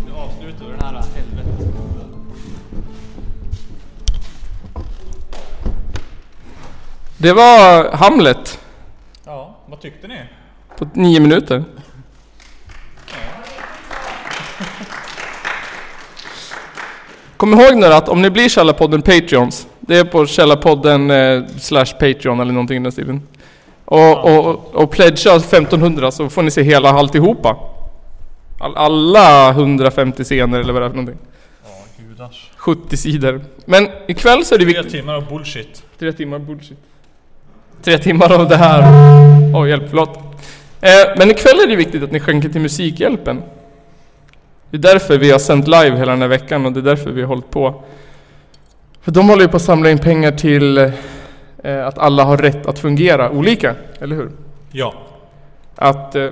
Speaker 2: Nu avslutar vi den här helvetes
Speaker 1: Det var Hamlet
Speaker 2: Ja, vad tyckte ni?
Speaker 1: på nio
Speaker 2: <laughs>
Speaker 1: minuter. Kom ihåg nu att om ni blir Källarpodden Patreons, det är på Källarpodden eh, slash Patreon eller någonting i den stilen. Och, och, och pledga 1500 så får ni se hela alltihopa. All, alla 150 scener eller vad det är för någonting.
Speaker 2: Ja, gudars.
Speaker 1: 70 sidor. Men ikväll så är det
Speaker 2: Tre
Speaker 1: viktigt.
Speaker 2: timmar av bullshit.
Speaker 1: Tre timmar bullshit. Tre timmar av det här. Oj, hjälp, förlåt. Eh, men ikväll är det viktigt att ni skänker till Musikhjälpen. Det är därför vi har sänt live hela den här veckan och det är därför vi har hållit på. För de håller ju på att samla in pengar till eh, att alla har rätt att fungera olika, eller hur?
Speaker 2: Ja.
Speaker 1: Att... Eh,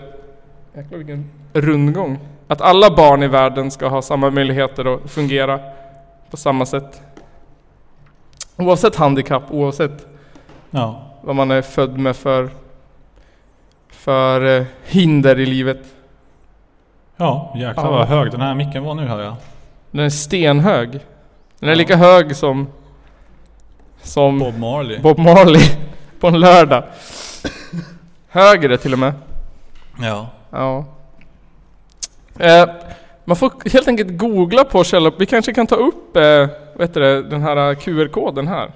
Speaker 1: jäklar vilken rundgång. Att alla barn i världen ska ha samma möjligheter att fungera på samma sätt. Oavsett handikapp, oavsett
Speaker 2: Ja.
Speaker 1: vad man är född med för, för eh, hinder i livet.
Speaker 2: Ja, jäklar
Speaker 1: Ja.
Speaker 2: vad hög den här micken var nu hör jag.
Speaker 1: Den är stenhög. Den är lika hög som, som
Speaker 2: Bob Marley.
Speaker 1: Bob Marley <laughs> på en <laughs> lördag. Högre till och med.
Speaker 2: Ja.
Speaker 1: Ja. Eh, man får helt enkelt googla på källa. Vi kanske kan ta upp eh, vad heter det, den här QR-koden här.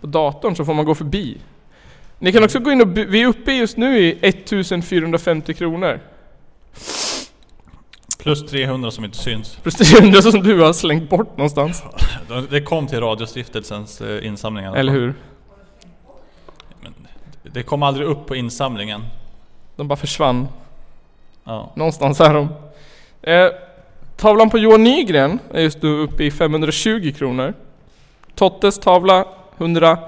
Speaker 1: På datorn så får man gå förbi. Ni kan också gå in och by- vi är uppe just nu i 1450 kronor.
Speaker 2: Plus 300 som inte syns.
Speaker 1: Plus 300 som du har slängt bort någonstans.
Speaker 2: Det kom till Radiostiftelsens eh, insamling i alla
Speaker 1: Eller
Speaker 2: fall.
Speaker 1: hur?
Speaker 2: Men Det kom aldrig upp på insamlingen.
Speaker 1: De bara försvann.
Speaker 2: Ja.
Speaker 1: Någonstans är de. Eh, tavlan på Johan Nygren är just nu uppe i 520 kronor. Tottes tavla 100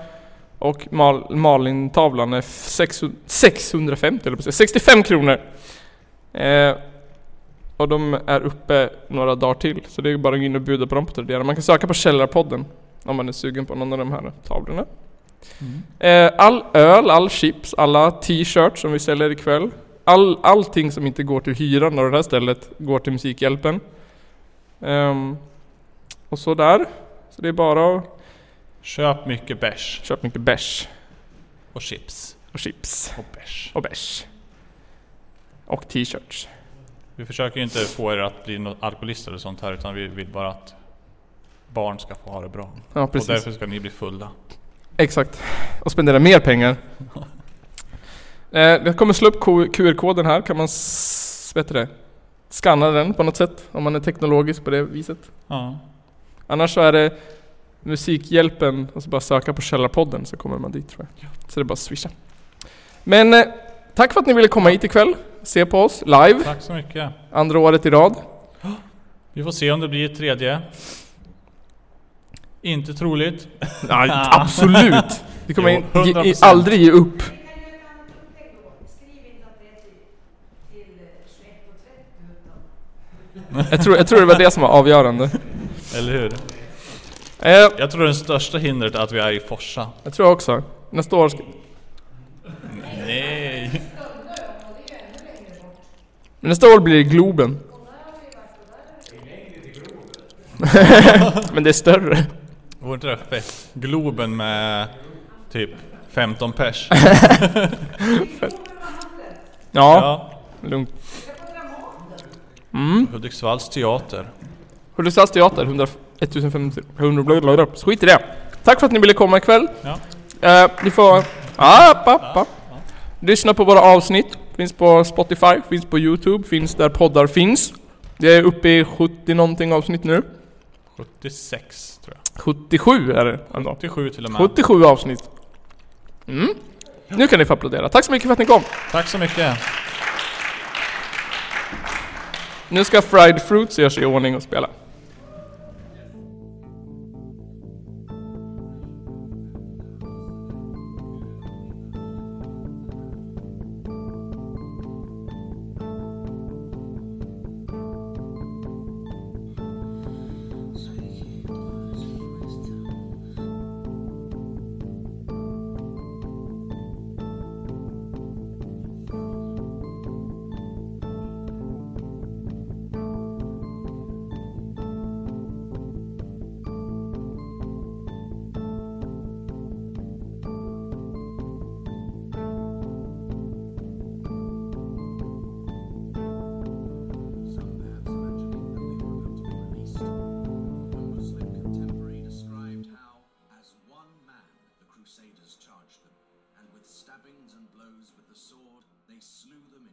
Speaker 1: och Mal- Malin-tavlan är 600, 650 eller 65 kronor. Eh, och de är uppe några dagar till, så det är bara att gå in och bjuda på dem på Tradera. Man kan söka på Källarpodden om man är sugen på någon av de här tavlorna. Eh, all öl, all chips, alla t-shirts som vi säljer ikväll All, allting som inte går till hyran av det här stället går till Musikhjälpen. Ehm, och så där. Så det är bara att
Speaker 2: Köp mycket bärs
Speaker 1: köpa mycket bärs
Speaker 2: och chips
Speaker 1: och chips
Speaker 2: och bärs.
Speaker 1: och bärs. Och t-shirts.
Speaker 2: Vi försöker ju inte få er att bli något alkoholister eller sånt här utan vi vill bara att barn ska få ha det bra.
Speaker 1: Ja
Speaker 2: Och
Speaker 1: precis.
Speaker 2: därför ska ni bli fulla.
Speaker 1: Exakt. Och spendera mer pengar.
Speaker 2: <laughs>
Speaker 1: Eh, jag kommer slå upp Q- QR-koden här. Kan man s- vet du det, scanna den på något sätt? Om man är teknologisk på det viset.
Speaker 2: Ja.
Speaker 1: Annars så är det Musikhjälpen och så bara söka på Källarpodden så kommer man dit tror jag. Så det är bara att swisha. Men eh, tack för att ni ville komma hit ikväll. Se på oss live,
Speaker 2: Tack så mycket.
Speaker 1: andra året i rad.
Speaker 2: Vi får se om det blir ett tredje. Inte troligt.
Speaker 1: <laughs> Nej, absolut! Vi kommer
Speaker 2: Jo,
Speaker 1: in, ge, i,
Speaker 2: 100%.
Speaker 1: aldrig ge upp. Jag tror, jag tror det var det som var avgörande.
Speaker 2: <laughs> Eller hur?
Speaker 1: Eh,
Speaker 2: Jag tror det största hindret är att vi är i Forsa.
Speaker 1: jag tror också. Nästa år ska,
Speaker 2: Nej!
Speaker 1: Men nästa år blir det Globen. <laughs> Men det är större.
Speaker 2: Vore inte det fett? Globen med typ 15 pers.
Speaker 1: Ja,
Speaker 2: Ja.
Speaker 1: lugnt.
Speaker 2: Hudiksvalls teater.
Speaker 1: Hudiksvalls teater, 100 1500... 100 blablabla. Så Skit i det. Tack för att ni ville komma ikväll.
Speaker 2: Ja.
Speaker 1: Eh, ni får... Ah, pa, pa. Lyssna på våra avsnitt. Finns på Spotify, finns på Youtube, finns där poddar finns. Det är uppe i 70 någonting avsnitt nu.
Speaker 2: 76 tror jag.
Speaker 1: 77 är det ändå.
Speaker 2: 87 till och med.
Speaker 1: 77 avsnitt. Mm. Nu kan ni få applådera. Tack så mycket för att ni kom.
Speaker 2: Tack så mycket.
Speaker 1: Nu ska Fried Fruits göra sig i ordning och spela.
Speaker 8: Some maps mentioning that they were going to be released. A Muslim contemporary described how, as one man, the Crusaders charged them, and with stabbings and blows with the sword, they slew them